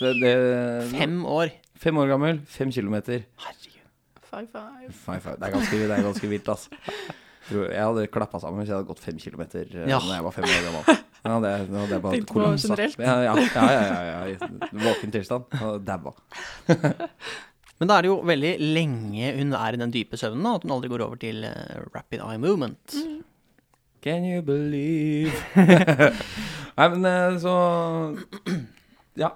Speaker 2: Det, det,
Speaker 3: Fem år.
Speaker 2: fem år gammel, fem kilometer.
Speaker 3: Herregud.
Speaker 1: Five, five.
Speaker 2: Fy faen, Det er ganske, det er ganske vilt, altså. Jeg hadde klappa sammen hvis jeg hadde gått fem kilometer eh,
Speaker 3: Ja.
Speaker 2: da jeg var fem år gammel. Ja, det, nå hadde jeg bare
Speaker 1: Tenkte på
Speaker 2: kolonsatt.
Speaker 1: generelt.
Speaker 2: Ja, ja, ja, ja, ja, ja. i Våken tilstand. og Daua.
Speaker 3: Men da er det jo veldig lenge hun er i den dype søvnen, da, at hun aldri går over til eh, rapid eye movement.
Speaker 2: Can you believe Nei, men eh, så Ja.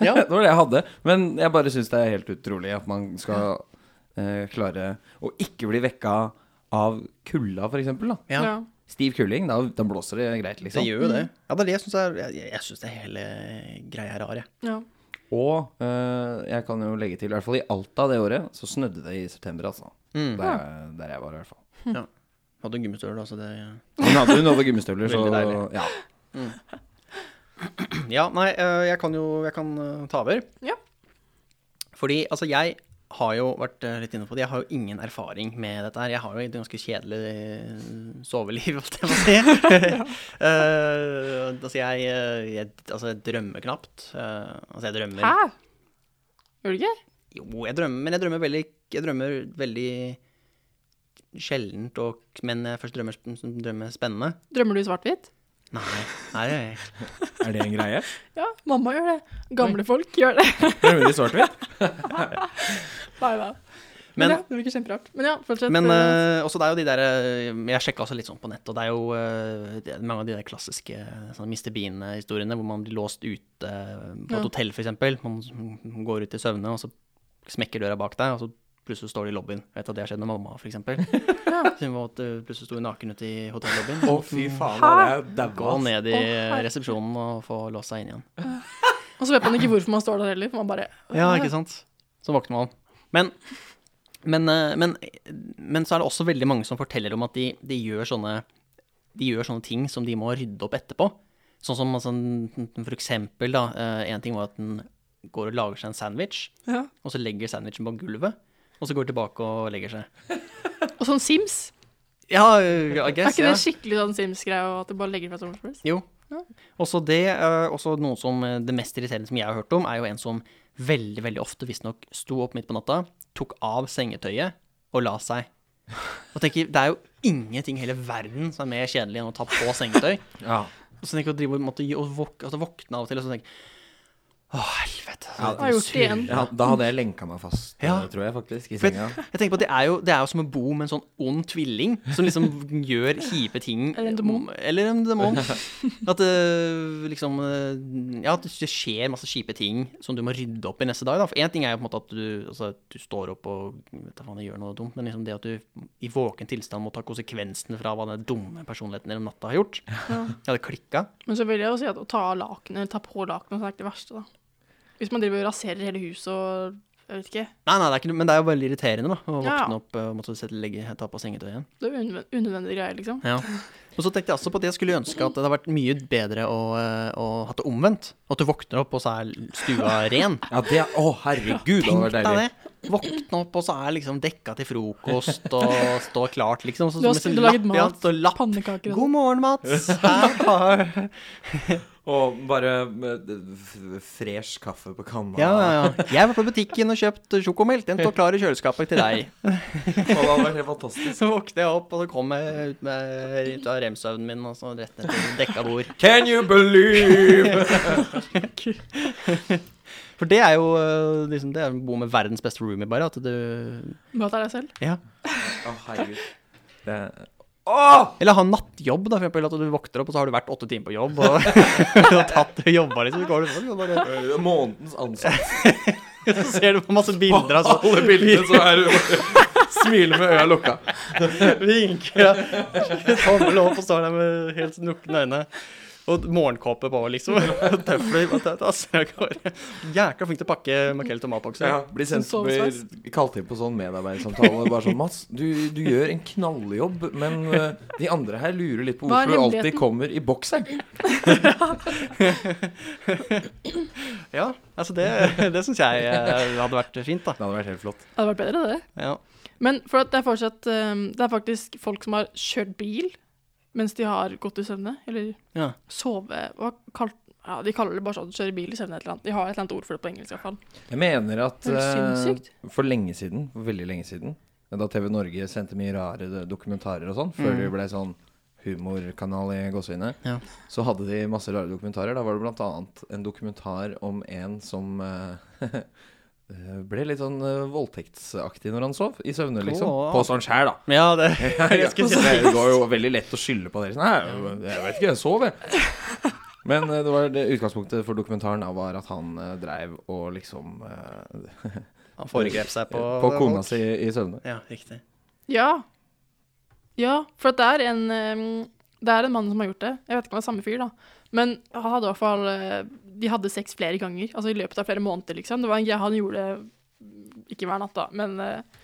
Speaker 3: Ja.
Speaker 2: Det var det jeg hadde. Men jeg bare syns det er helt utrolig at man skal eh, klare å ikke bli vekka av kulda, for eksempel. Da.
Speaker 3: Ja, Mm.
Speaker 1: Ja.
Speaker 2: Stiv kuling, da, da blåser det greit,
Speaker 3: det
Speaker 2: liksom.
Speaker 3: gjør jo det. Ja, det er det jeg syns er Jeg, jeg syns det hele greia er rar, jeg.
Speaker 1: ja.
Speaker 2: Og eh, jeg kan jo legge til, i hvert fall i Alta det året, så snødde det i september, altså.
Speaker 3: Mm.
Speaker 2: Der, der jeg var, i hvert fall.
Speaker 3: Ja. Hadde en gummistøvel, altså det
Speaker 2: Hun hadde, hun hadde gummistøvler, så
Speaker 3: Veldig deilig.
Speaker 2: ja.
Speaker 3: Ja, nei, eh, jeg kan jo Jeg kan eh, ta over.
Speaker 1: Ja.
Speaker 3: Fordi altså, jeg har jo vært eh, litt inne på det. Jeg har jo ingen erfaring med dette her. Jeg har jo et ganske kjedelig eh, soveliv, holdt jeg på å si. Eh, altså, jeg, eh, jeg Altså, jeg drømmer knapt. Eh, altså, jeg drømmer
Speaker 1: Hæ? Gjør du ikke?
Speaker 3: Jo, jeg drømmer, men jeg drømmer veldig, jeg drømmer veldig sjeldent, og, men når jeg først drømmer, sp- drømmer spennende.
Speaker 1: Drømmer du i svart-hvitt?
Speaker 3: Nei, nei, det gjør jeg ikke.
Speaker 2: Er det en greie?
Speaker 1: Ja, mamma gjør det. Gamle folk gjør det.
Speaker 2: Drømmer i svart-hvitt?
Speaker 1: Nei da. Men,
Speaker 3: Men-
Speaker 1: ja, det virker kjemperart. Men ja, fortsett.
Speaker 3: Men
Speaker 1: eh,
Speaker 3: eh, også det er jo de der eh, Jeg sjekka også litt sånn på nett, og det er jo eh, det er mange av de der klassiske eh, sånn Mr. Bean-historiene hvor man blir låst ute eh, på
Speaker 1: Ja.
Speaker 3: et hotell, f.eks. Man s- man går ut i søvne, og så smekker døra bak deg, og så plutselig står de i lobbyen. Jeg vet at det har skjedd med mamma, f.eks. Hun var at, eh, plutselig sto hun naken ute i hotellobbyen.
Speaker 2: Å, fy faen,
Speaker 1: Hæ?
Speaker 2: det er
Speaker 3: Gå
Speaker 2: daua.
Speaker 3: ned i
Speaker 1: Å, herregud.
Speaker 3: resepsjonen og få låst seg inn igjen.
Speaker 1: Og så vet man ikke hvorfor man står der heller, for man bare
Speaker 3: Ja, ikke sant? Så våkner man. Men, men, eh, men, men så er det også veldig mange som forteller om at de, de, gjør, sånne, de gjør sånne ting som de må rydde opp etterpå. Sånn som altså, for eksempel, da, eh, en ting var at den går og lager seg en sandwich,
Speaker 1: ja.
Speaker 3: og så legger sandwichen på gulvet, og så går tilbake og legger seg.
Speaker 1: Og sånn Sims.
Speaker 3: Ja, I guess,
Speaker 1: Er ikke
Speaker 3: ja.
Speaker 1: det skikkelig sånn Sims-greie, og at du bare legger fra Summer Spurs?
Speaker 3: Jo.
Speaker 1: Ja.
Speaker 3: Også det, eh, også noe som eh, det mest irriterende som jeg har hørt om, er jo en som veldig, veldig ofte visstnok sto opp midt på natta, tok av sengetøyet og la seg. Og tenker, det er jo ingenting i hele verden som er mer kjedelig enn å ta på sengetøy.
Speaker 2: Ja.
Speaker 3: Og så tenker jeg å drive og måtte gi- og våk, altså våkne av og til, og så tenker jeg Å, helvete.
Speaker 2: Ja,
Speaker 1: Jeg har gjort det igjen.
Speaker 2: Ja, da hadde jeg lenka meg fast,
Speaker 3: Ja.
Speaker 2: eh, tror jeg faktisk, i
Speaker 3: For
Speaker 2: senga.
Speaker 3: jeg, jeg tenker på at det er, jo, det er jo som å bo med en sånn ond tvilling som liksom gjør kjipe ting.
Speaker 1: Eller en demon.
Speaker 3: Eller en demon. At det liksom eh, Ja, at det skjer masse kjipe ting som du må rydde opp i neste dag. Da. For én ting er jo på en måte at du, altså, at du står opp og vet da faen, gjør noe dumt, men liksom det at du i våken tilstand må ta konsekvensene fra hva den dumme personligheten din om natta har gjort. Jeg hadde klikka.
Speaker 1: Men så vil jeg jo si at å ta av lakenet, eller ta på lakenet, så er ikke det verste, da. Hvis man driver og raserer hele huset og Jeg vet ikke.
Speaker 3: Nei, nei, det er ikke, noe- men det er jo veldig irriterende, da. Å
Speaker 1: Ja.
Speaker 3: våkne opp eh, og måtte sette, legge, ta på sengetøyet igjen.
Speaker 1: Det er unødven- unødvendige greier, liksom.
Speaker 3: Ja. Og så tenkte jeg også på at jeg skulle ønske at det hadde vært mye bedre å, eh, å ha det omvendt. At du våkner opp, og så er stua ren.
Speaker 2: Ja, det Å, herregud, det hadde vært
Speaker 3: Tenk deg
Speaker 2: deilig.
Speaker 3: det. Våkne opp, og så er liksom dekka til frokost, og står klart, liksom. Så,
Speaker 1: Du har
Speaker 3: med sånn
Speaker 1: skulle laget
Speaker 3: lapp, ja,
Speaker 1: mat,
Speaker 3: så lapp.
Speaker 1: Pannekaker og sånn.
Speaker 3: God morgen, Mats. Her har
Speaker 2: Og bare eh, f- fresh kaffe på kanna.
Speaker 3: Ja, ja, ja. Jeg var på butikken og kjøpte sjokomelk. Den står klar i kjøleskapet til deg.
Speaker 2: Og det hadde vært helt fantastisk.
Speaker 3: Så våkner jeg opp, og så kommer jeg ut, med, ut av remsøvnen min, og så rett ned til dekka bord.
Speaker 2: Can you believe?
Speaker 3: For det er jo eh, liksom, det er å bo med verdens beste roomie, bare. At du
Speaker 1: sånn. Møt deg selv.
Speaker 3: Ja.
Speaker 2: Å, herregud. Det
Speaker 3: Eller ha nattjobb, da, for eksempel. At du våkner opp, og så har du vært åtte timer på jobb. Og, og tatt og jobba litt. Så, går du, og bare,
Speaker 2: er Eh, månedens ansatt.
Speaker 3: så ser du på masse bilder av sånn
Speaker 2: Alle bildene så er du Smiler med øya lukka.
Speaker 3: vinker og tommel opp og står der med helt nukne øyne. Og morgenkåpe på, liksom. Og Tøfler. og tøtt, ass. altså, Jeg går- Jækla flink til å pakke makrell i tomatbokser.
Speaker 2: Ja, blir sendt
Speaker 1: Som sovesveis.
Speaker 2: blir kalt inn på sånn medarbeidersamtale. Bare sånn 'Mats, du, du gjør en knalljobb, men eh, de andre her lurer litt på
Speaker 1: Hva er
Speaker 2: hvorfor du alltid
Speaker 1: hemmeligheten?»
Speaker 2: kommer i bokseren'.
Speaker 3: Ja, altså det, det syns jeg eh, hadde vært fint, da.
Speaker 2: Det hadde vært helt flott.
Speaker 1: Det hadde vært bedre, det.
Speaker 3: Ja.
Speaker 1: Men for at det er fortsatt eh, Det er faktisk folk som har kjørt bil mens de har gått i søvne, eller
Speaker 3: Ja.
Speaker 1: sove Hva kalt ja, De kaller det bare sånn kjøre bil i søvne, et eller annet. De har et eller annet ord for det på engelsk, i hvert fall.
Speaker 2: Jeg mener at
Speaker 1: Det er
Speaker 2: eh,
Speaker 1: sinnssykt.
Speaker 2: for lenge siden, for veldig lenge siden, da TV Norge sendte mye rare do- dokumentarer og sånn,
Speaker 1: Mm.
Speaker 2: før det ble sånn humorkanal i gåseøyne,
Speaker 3: Ja.
Speaker 2: så hadde de masse rare dokumentarer. Da var det blant annet en dokumentar om en som eh, ble litt sånn eh, voldtektsaktig når han sov, i søvne, liksom.
Speaker 3: Åh.
Speaker 2: På sånn skjær, da.
Speaker 3: Men ja, det
Speaker 2: Ja,
Speaker 3: jeg skulle si.
Speaker 2: det går jo veldig lett å skylde på dere. Sånn, Nei, jeg vet ikke, jeg sov, jeg. Men eh, det var det utgangspunktet for dokumentaren da, var at han eh, dreiv og liksom eh,
Speaker 3: Han foregrep seg på
Speaker 2: på kona si i søvne.
Speaker 3: Ja, riktig.
Speaker 1: Ja. Ja, for at det er en eh, Det er en mann som har gjort det. Jeg vet ikke om det er samme fyr, da. Men han hadde i hvert fall eh, De hadde sex flere ganger. Altså i løpet av flere måneder, liksom. Det var en greie han gjorde Ikke hver natt, da, men eh,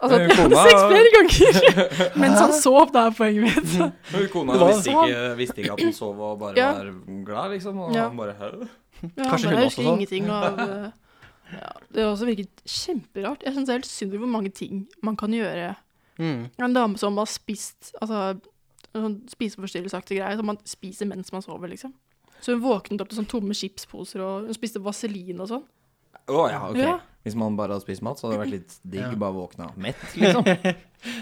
Speaker 1: Altså,
Speaker 2: Eh,
Speaker 1: de hadde
Speaker 2: kona-
Speaker 1: sex flere ganger mens han sov, det er poenget mitt.
Speaker 3: Mm.
Speaker 2: Kona
Speaker 3: Det var
Speaker 1: visste ikke-
Speaker 2: sånn. at han sov og bare
Speaker 1: Ja.
Speaker 2: var glad, liksom.
Speaker 1: og Ja. han
Speaker 2: bare
Speaker 1: Ja,
Speaker 3: Kanskje
Speaker 1: men
Speaker 3: hun
Speaker 1: jeg
Speaker 3: også
Speaker 1: husker
Speaker 3: sa.
Speaker 1: ingenting av eh, ja, Det har også virket kjemperart. Jeg syns det er helt synd hvor mange ting man kan gjøre.
Speaker 3: Mm.
Speaker 1: En dame som har spist altså, sånn spiseforstyrrelsesaktig greie, som man spiser mens man sover, liksom. Så hun våknet opp til sånn tomme chipsposer, og hun spiste vaselin og sånn.
Speaker 2: Å ja, ok.
Speaker 1: Ja.
Speaker 2: Hvis man bare hadde spist mat, så hadde det vært litt digg.
Speaker 3: Ja.
Speaker 2: Bare våkna mett, liksom.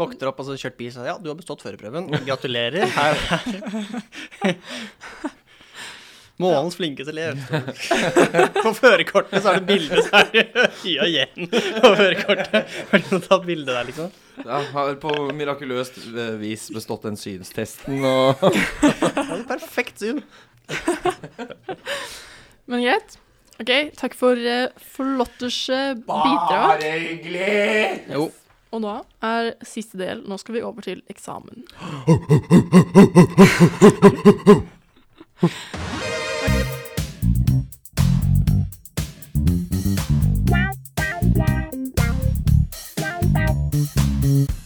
Speaker 3: Våkner opp og så kjørt bil, så ja, du har bestått førerprøven. Gratulerer. Her, her. Månens flinkeste elev. På førerkortet så er det bilde, så er det Kia igjen på førerkortet. Har du tatt bilde der, liksom?
Speaker 2: Ja, har på mirakuløst eh, vis bestått den synstesten og
Speaker 3: Ja, det er perfekt syn.
Speaker 1: Men greit. OK, takk for eh, flotters eh, bidrag.
Speaker 2: hyggelig!
Speaker 3: Jo.
Speaker 1: Og da er siste del. Nå skal vi over til eksamen.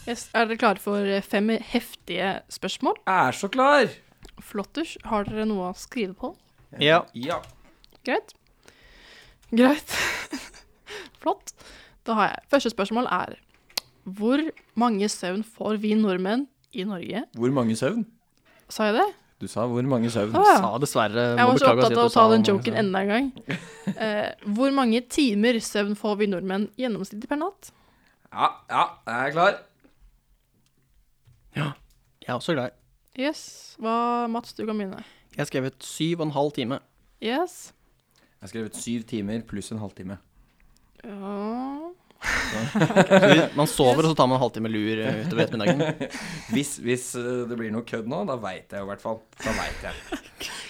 Speaker 1: Yes, er dere klare for fem heftige spørsmål?
Speaker 2: Er så klar!
Speaker 1: Flotters, har dere noe å skrive på?
Speaker 3: Ja.
Speaker 2: Ja.
Speaker 1: Greit. Greit. Flott. Da har jeg. Første spørsmål er Hvor mange søvn får vi nordmenn i Norge?
Speaker 2: Hvor mange søvn?
Speaker 1: Sa jeg det?
Speaker 2: Du sa hvor mange søvn?
Speaker 1: Å, ja.
Speaker 3: Sa dessverre
Speaker 1: Jeg
Speaker 3: må
Speaker 1: var så
Speaker 3: beklage å si
Speaker 1: opptatt
Speaker 3: at
Speaker 1: av
Speaker 3: du
Speaker 1: å ta
Speaker 3: sa
Speaker 1: den
Speaker 3: mange
Speaker 1: joken
Speaker 3: søvn.
Speaker 1: enda en gang. Eh, hvor mange timer søvn får vi nordmenn gjennomsnittlig per natt?
Speaker 2: Ja, ja, jeg er klar.
Speaker 3: Jeg er også glad.
Speaker 1: Yes. Hva, Mats, du kan begynne.
Speaker 3: Jeg har skrevet syv og en halv time.
Speaker 1: Yes.
Speaker 2: Jeg har skrevet syv timer pluss en halvtime.
Speaker 1: Ja.
Speaker 3: Så vi- Man sover, og så tar man en halvtime lur eh, utover ettermiddagen.
Speaker 2: Hvis, hvis eh, det blir noe kødd nå, da veit jeg jo i hvert fall. Da veit jeg.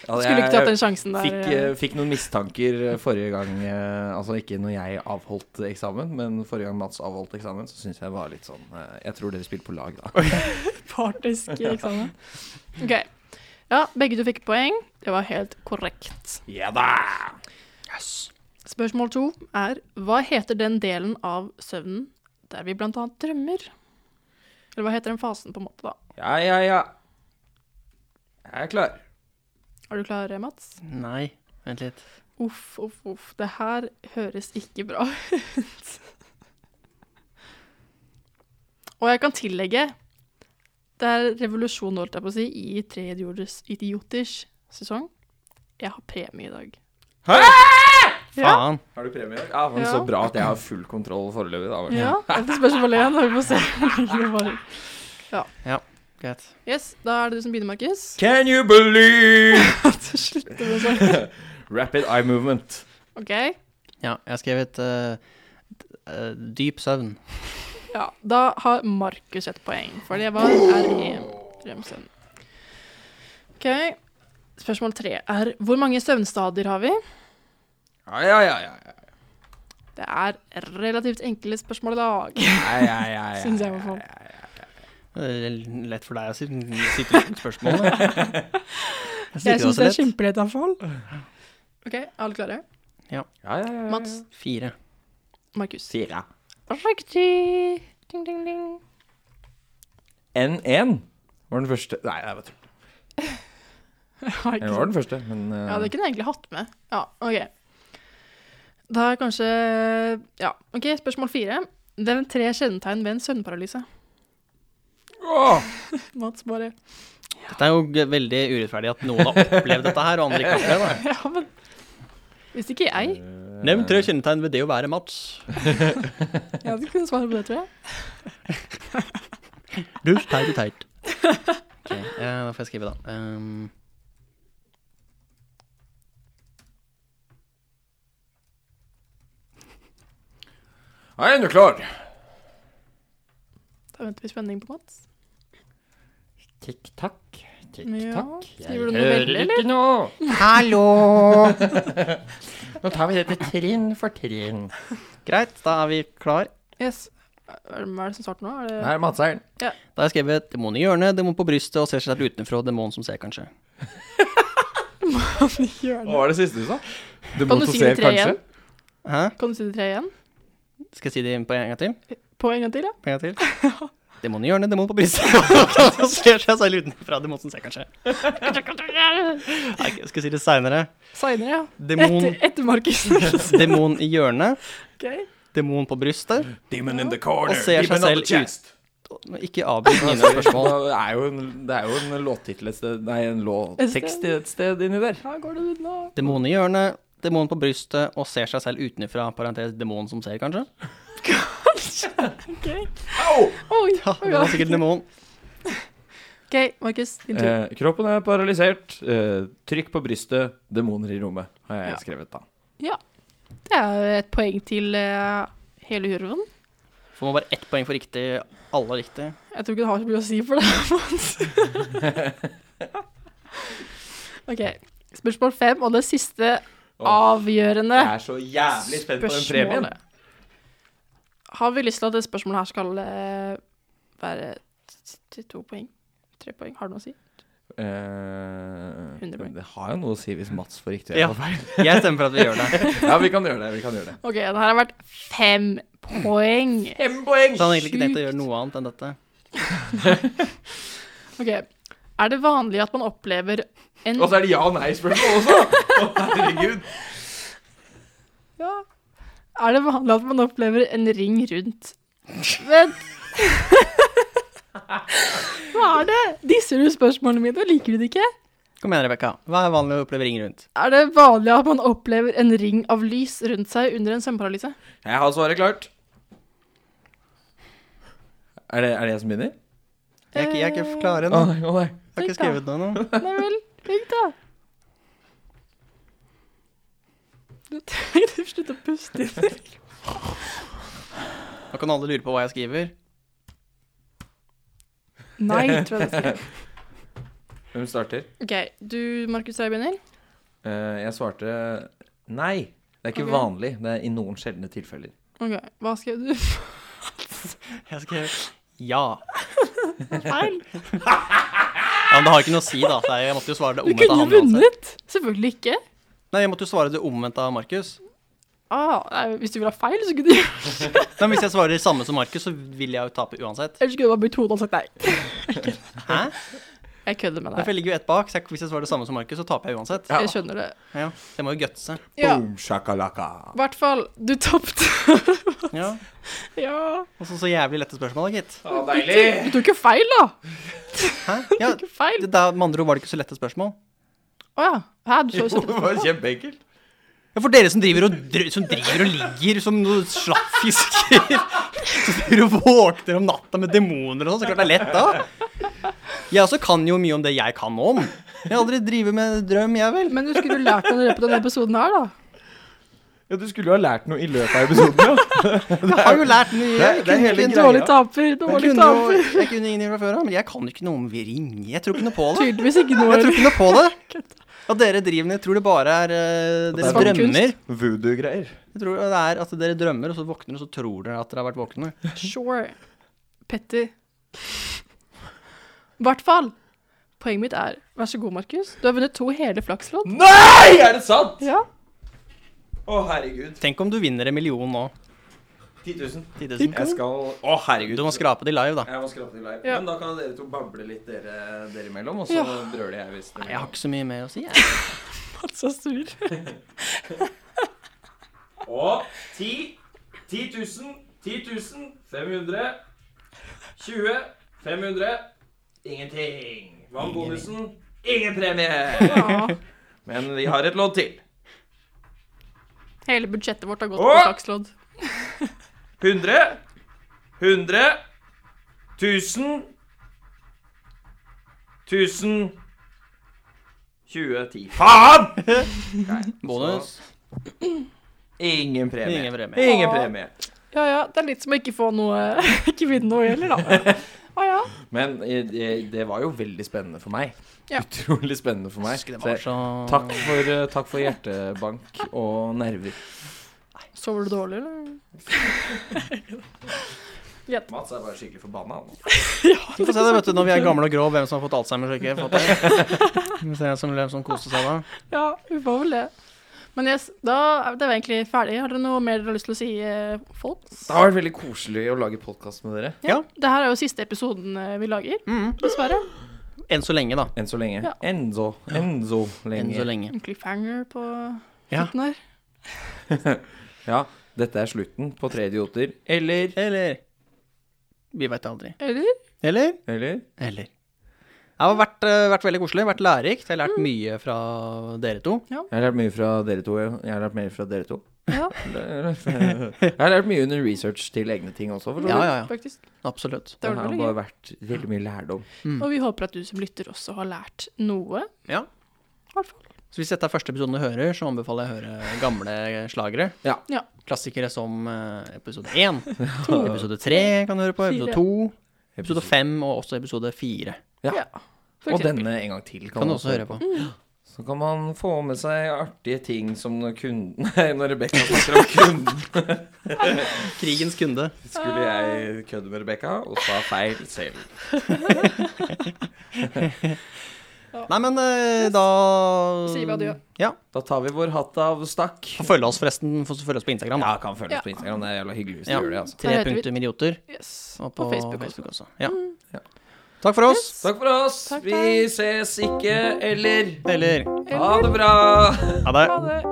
Speaker 2: Altså,
Speaker 1: Skulle ikke tatt den sjansen der.
Speaker 2: Fikk, eh, fikk noen mistanker eh, forrige gang eh, Altså ikke når jeg avholdt eksamen, men forrige gang Mats avholdt eksamen, så syns jeg var litt sånn eh, Jeg tror dere spilte på lag, da.
Speaker 3: eh,
Speaker 1: partisk eksamen. OK. Ja, begge du fikk poeng. Det var helt korrekt.
Speaker 2: Ja da!
Speaker 1: Spørsmål to er hva heter den delen av søvnen der vi blant annet drømmer? Eller hva heter den fasen, på en måte, da?
Speaker 2: Ja, ja, ja. Jeg er klar.
Speaker 1: Er du klar, Mats?
Speaker 3: Nei, vent litt.
Speaker 1: Uff, uff, uff. Det her høres ikke bra ut. Og jeg kan tillegge Det er revolusjon, holdt jeg på å si, i Tre idioters, idioters sesong. Jeg har premie i dag. Ja.
Speaker 3: Faen.
Speaker 2: Har du premie i dag? Ja, men
Speaker 1: Ja.
Speaker 2: Så bra at jeg har full kontroll foreløpig. da. vel.
Speaker 1: Ja, dette spørsmålet igjen. Vi får se.
Speaker 3: Greit.
Speaker 1: Yes, da er det du som begynner, Markus.
Speaker 2: Can you believe
Speaker 1: Slutter med sånn.
Speaker 2: rapid eye movement?
Speaker 1: OK.
Speaker 3: Ja, jeg har skrevet eh, d- eh, dyp søvn.
Speaker 1: Ja, da har Markus et poeng, for det var RE-remsen. OK. Spørsmål tre er hvor mange søvnstadier har vi?
Speaker 2: Ja, ja, ja. ja. ja.
Speaker 1: Det er relativt enkle spørsmål i dag,
Speaker 2: ja, ja, ja, ja.
Speaker 1: syns jeg i hvert fall.
Speaker 3: Eh, Lett for deg å si, si til uten spørsmål. da. Sikre
Speaker 4: Jeg syns
Speaker 3: oss
Speaker 4: det er
Speaker 3: litt.
Speaker 4: kjempelett, iallfall.
Speaker 1: OK, alle klare?
Speaker 2: Ja, ja, ja, ja.
Speaker 1: Mats?
Speaker 3: Fire.
Speaker 1: Markus?
Speaker 2: Fire.
Speaker 1: Riktig! Ding, ding, ding.
Speaker 2: N1 var den første Nei, jeg vet ikke.
Speaker 1: Ja, ikke
Speaker 2: Det var den første, men eh,
Speaker 1: Ja, det kunne jeg egentlig hatt med. Ja, ok. Da er kanskje Ja, ok, spørsmål fire. Nevn tre kjennetegn ved en søvnparalyse.
Speaker 2: Åh!
Speaker 1: Mats bare
Speaker 3: Dette er jo g- veldig urettferdig at noen har opplevd dette her, og andre ikke har opplevd det.
Speaker 1: Ja, men Hvis ikke jeg.
Speaker 2: Eh.
Speaker 3: Nevn tre kjennetegn ved det å være Mats.
Speaker 1: Jeg hadde kunnet svare på det, tror jeg.
Speaker 3: Rust, teit og teit. Ok, eh, da får jeg skrive, da. Um,
Speaker 2: Jeg er du klar?
Speaker 1: Da venter vi i spenning på Mats.
Speaker 2: Tikk-takk,
Speaker 1: Ja,
Speaker 2: tikk-takk. Eh,
Speaker 1: skriver du noe veldig, eller?
Speaker 2: noe.
Speaker 3: Hallo!
Speaker 2: Nå tar vi dette trinn for trinn.
Speaker 3: Greit, da er vi klar.
Speaker 1: Yes. Er det- Hva er det som starter nå? Er det
Speaker 2: Her er Madseieren.
Speaker 3: Da har jeg skrevet 'demon i hjørnet', 'demon på brystet' og 'ser seg selv utenfra', og 'demon som ser', kanskje.
Speaker 2: Hva var det siste du sa? Du
Speaker 1: Kan du si de tre igjen?
Speaker 3: Hæ?
Speaker 1: Kan du si de tre igjen?
Speaker 3: Skal jeg si det på en gang til?
Speaker 1: På en gang til, ja?
Speaker 3: På en gang til? Demon i hjørnet, demon på brystet. Og ser seg selv utenfra, demon som ser, kanskje. Nei, jeg skal si det seinere.
Speaker 1: Seinere, ja.
Speaker 3: Demon,
Speaker 1: Etter, etter Markus.
Speaker 3: demon i hjørnet,
Speaker 1: Ok.
Speaker 3: demon på brystet.
Speaker 2: Demon in the corner.
Speaker 3: Og ser seg
Speaker 2: demon on
Speaker 3: selv
Speaker 2: the chest.
Speaker 3: Men Ikke avbryt mine spørsmål.
Speaker 2: Det er jo en, det er jo en låttittel et sted Nei, en låttekst et sted inni der.
Speaker 1: Her går det unna.
Speaker 3: Demon i hjørnet, demon på brystet og ser seg selv utenfra, parentes demon som ser, kanskje.
Speaker 1: Ok.
Speaker 2: Au!
Speaker 1: Oi.
Speaker 3: Ja, det var sikkert en demon.
Speaker 1: OK, Markus, din tur.
Speaker 2: Eh, kroppen er paralysert. Eh, trykk på brystet. Demoner i rommet, har jeg
Speaker 1: Ja.
Speaker 2: skrevet da.
Speaker 1: Det er et poeng til eh, hele hurven.
Speaker 3: Får man bare ett poeng for riktig, alle riktig.
Speaker 1: Jeg tror ikke det har så mye å si for deg, Mons. OK. Spørsmål fem, og det siste avgjørende
Speaker 2: Jeg er så jævlig spent på den premien.
Speaker 1: spørsmålet. Har vi lyst til at det spørsmålet her skal eh, være t- t- to poeng? Tre poeng? Har det noe å si?
Speaker 2: Eh,
Speaker 1: 100 poeng.
Speaker 2: det har jo noe å si hvis Mats får riktig.
Speaker 3: Ja, jeg stemmer for at vi gjør det.
Speaker 2: ja, vi kan gjøre det. vi kan gjøre det
Speaker 1: OK, det her har vært fem poeng.
Speaker 2: Fem poeng!
Speaker 3: Så han har egentlig ikke tenkt å gjøre noe annet enn dette.
Speaker 1: OK. Er det vanlig at man opplever en
Speaker 2: Og så er det ja- og nei-spørsmål også! Å, herregud.
Speaker 1: Ja. Er det vanlig at man opplever en ring rundt? Vent. Hva er det? Disser du spørsmålene mine? Liker du det ikke?
Speaker 3: Kom igjen, Rebekka. Hva er vanlig å oppleve ring rundt?
Speaker 1: Er det vanlig at man opplever en ring av lys rundt seg under en søvnparalyse?
Speaker 2: Jeg har svaret klart. Er det, er det jeg som begynner?
Speaker 3: Jeg er ikke, jeg er ikke klar
Speaker 2: Å
Speaker 3: ennå.
Speaker 2: nei, å nei.
Speaker 3: Jeg har ikke skrevet noe ennå.
Speaker 1: Nei vel, tenk da. Du trenger å slutte å puste inn.
Speaker 3: Nå kan alle lure på hva jeg skriver.
Speaker 1: Nei, tror jeg det skal.
Speaker 2: Hvem starter?
Speaker 1: Ok, du, Markus, jeg begynner.
Speaker 2: Eh, jeg svarte nei. Det er ikke
Speaker 1: Ok.
Speaker 2: vanlig. Det er i noen sjeldne tilfeller.
Speaker 1: Ok, hva skrev du?
Speaker 3: Jeg skrev ja.
Speaker 1: Feil.
Speaker 3: ja men det har ikke noe å si, da. Så jeg måtte jo svare det
Speaker 1: Du
Speaker 3: omvendt av
Speaker 1: kunne
Speaker 3: han. uansett.
Speaker 1: vunnet. Selvfølgelig ikke.
Speaker 3: Nei, jeg måtte jo svare det omvendt av Markus.
Speaker 1: Ah, nei, hvis du vil ha feil, så kunne du
Speaker 3: Nei, men Hvis jeg svarer det samme som Markus, så vil jeg jo tape uansett.
Speaker 1: Ellers kunne du bare brukt hodet og sagt nei.
Speaker 3: Hæ?
Speaker 1: Jeg kødder med
Speaker 3: Derfor
Speaker 1: deg.
Speaker 3: ligger jo ett bak, så jeg, hvis jeg svarer det samme som Markus, så taper jeg uansett.
Speaker 1: Jeg skjønner det.
Speaker 3: Ja, så jeg må jo gutse.
Speaker 1: Ja,
Speaker 2: Boom, shakalaka.
Speaker 1: i hvert fall. Du tapte.
Speaker 3: Ja.
Speaker 1: ja.
Speaker 3: Og så så jævlig lette spørsmål, da, gitt.
Speaker 2: Å,
Speaker 1: Du tok jo feil, da.
Speaker 3: Hæ? Ja,
Speaker 1: Du tok jo feil.
Speaker 3: det der, med andre ord var det ikke så lette spørsmål.
Speaker 1: Å ja. Hæ, du
Speaker 2: Jo,
Speaker 1: så jo
Speaker 2: det var kjempeenkelt.
Speaker 3: Ja, For dere som driver og, dr som driver og ligger som noen slappfisker Som driver og våkner om natta med demoner og sånn, så klart det er lett da. Jeg også kan jo mye om det jeg kan om. Jeg har aldri drevet med drøm, jeg vel.
Speaker 1: Men du skulle jo lært deg det i løpet av denne episoden her, da.
Speaker 2: Ja, du skulle jo ha lært noe i løpet av episoden, ja.
Speaker 3: Jeg har jo lært mye.
Speaker 2: Det er-
Speaker 3: Jeg
Speaker 2: det er
Speaker 3: kunne
Speaker 2: hele
Speaker 3: ikke-
Speaker 2: greia.
Speaker 1: Dårlig taper,
Speaker 3: Jeg
Speaker 1: dårlig
Speaker 3: kunne jo
Speaker 1: taper.
Speaker 3: jeg kunne ingen fra før av, men jeg kan jo ikke noe om ring. Jeg tror ikke noe på det.
Speaker 1: Tydeligvis ikke noe.
Speaker 3: Jeg tror ikke noe på det. At dere driver med, jeg tror det bare er eh, Dere
Speaker 2: At det
Speaker 1: er kunst.
Speaker 3: drømmer.
Speaker 2: Voodoo-greier.
Speaker 3: Jeg tror det er at dere drømmer, og så våkner dere, og så tror dere at dere har vært våkne.
Speaker 1: Sure. Petter. I hvert fall. Poenget mitt er, vær så god, Markus. Du har vunnet to hele flakslodd.
Speaker 2: Nei, er det sant?!
Speaker 1: Ja.
Speaker 2: Å, herregud.
Speaker 3: Tenk om du vinner en million nå.
Speaker 2: 10 000.
Speaker 3: 10 000.
Speaker 2: Jeg skal Å, herregud.
Speaker 3: Du må skrape de live, da.
Speaker 2: Jeg må skrape til live.
Speaker 1: Ja.
Speaker 2: Men da kan dere to bable litt dere, dere imellom, og så
Speaker 1: Ja.
Speaker 2: brøler jeg hvis dere
Speaker 3: Jeg har ikke så mye mer å si, jeg.
Speaker 1: Så sur.
Speaker 2: Og 10 10 000 10 000 500 20 500 Ingenting. Hva med bonusen? Ingen premie!
Speaker 1: Ja.
Speaker 2: Men vi har et lodd til.
Speaker 1: Hele budsjettet vårt har gått
Speaker 2: Åh!
Speaker 1: på flakslodd.
Speaker 2: 100 100 1000 1000 20 10 Faen! Nei,
Speaker 3: Bonus.
Speaker 2: Ingen premie.
Speaker 3: Ingen premie.
Speaker 2: Ingen
Speaker 1: Åh.
Speaker 2: premie.
Speaker 1: Ja ja, det er litt som å ikke få noe Ikke vinne noe heller, da. Å ja.
Speaker 2: Men eh, det, det var jo veldig spennende for meg.
Speaker 1: Ja.
Speaker 2: Utrolig spennende for meg.
Speaker 3: Husker det
Speaker 2: Så
Speaker 3: var
Speaker 2: jeg-
Speaker 3: så
Speaker 2: takk, for, eh, takk for hjertebank og nerver.
Speaker 1: Sover du dårlig, eller?
Speaker 2: Mats er bare skikkelig forbanna. han.
Speaker 3: Vi får se det, vet du, når vi er gamle og grå, hvem som har fått Alzheimer og ikke fått det. Vi ser som, hvem som koste seg da.
Speaker 1: Ja, vi får vel det. Men yes, da er det var egentlig ferdig. Har dere noe mer dere har lyst til å si, eh, folks?
Speaker 2: Det har vært veldig koselig å lage podkast med dere.
Speaker 3: Ja.
Speaker 1: Det her er jo siste episoden eh, vi lager,
Speaker 3: Mm.
Speaker 1: dessverre.
Speaker 3: Enn så lenge, da.
Speaker 2: Enn så lenge.
Speaker 1: Ja.
Speaker 2: Enn så enn så
Speaker 3: Enn
Speaker 2: lenge.
Speaker 3: så lenge.
Speaker 1: En cliffhanger på
Speaker 3: Ja.
Speaker 1: slutten her.
Speaker 2: Ja, dette er slutten på Tre idioter. Eller
Speaker 3: Eller Vi veit aldri.
Speaker 1: Eller?
Speaker 3: Eller?
Speaker 2: Eller?
Speaker 3: Eller. Det har vært, eh, vært veldig koselig, vært lærerikt. Jeg har lært mye fra dere to.
Speaker 2: Jeg har lært mye fra dere to. ja. Jeg har lært mer fra dere to.
Speaker 1: Ja,
Speaker 2: Jeg har lært mye under research til egne ting også. For så
Speaker 3: Ja,
Speaker 2: vidt.
Speaker 3: ja, ja.
Speaker 1: faktisk.
Speaker 3: Absolutt.
Speaker 1: Det
Speaker 2: Det
Speaker 1: var
Speaker 2: har
Speaker 1: veldig
Speaker 2: bare
Speaker 1: gøy.
Speaker 2: vært veldig mye lærdom.
Speaker 1: Og vi håper at du som lytter også har lært noe.
Speaker 3: Ja.
Speaker 1: I hvert fall.
Speaker 3: Så hvis dette er første episoden du hører, så anbefaler jeg å høre gamle slagere.
Speaker 2: Ja.
Speaker 1: Ja.
Speaker 3: Klassikere som eh, episode én, episode tre kan du høre på,
Speaker 1: Fire.
Speaker 3: episode to, episode fem og også episode fire.
Speaker 2: Ja.
Speaker 1: For
Speaker 2: Og
Speaker 1: eksempel.
Speaker 2: denne en gang til
Speaker 3: Kan du også høre på. Mm.
Speaker 2: Så kan man få med seg artige ting som når kunden Nei, når Rebekka snakker om kunden,
Speaker 3: Krigens kunde.
Speaker 2: skulle jeg kødde med Rebekka og sa feil selv.
Speaker 3: Nei, men eh, da
Speaker 1: Sier vi adjø.
Speaker 3: Ja.
Speaker 2: Da tar vi vår hatt av stakk.
Speaker 3: Få følge oss forresten. Få følge oss på Instagram.
Speaker 2: Ja,
Speaker 3: Da.
Speaker 2: kan følge oss på Instagram. Det er jævla hyggelig hvis du
Speaker 3: Ja.
Speaker 2: gjør det, altså.
Speaker 3: Tre
Speaker 1: Der heter vi-
Speaker 3: punktum idioter.
Speaker 1: Yes.
Speaker 3: Og
Speaker 1: På Facebook også. Mm.
Speaker 3: også. Ja.
Speaker 2: Ja.
Speaker 3: Takk for oss.
Speaker 2: Takk for oss.
Speaker 1: Takk,
Speaker 2: Vi ses ikke eller
Speaker 3: Eller
Speaker 2: Ha det bra.
Speaker 3: ha det.
Speaker 1: Ha det.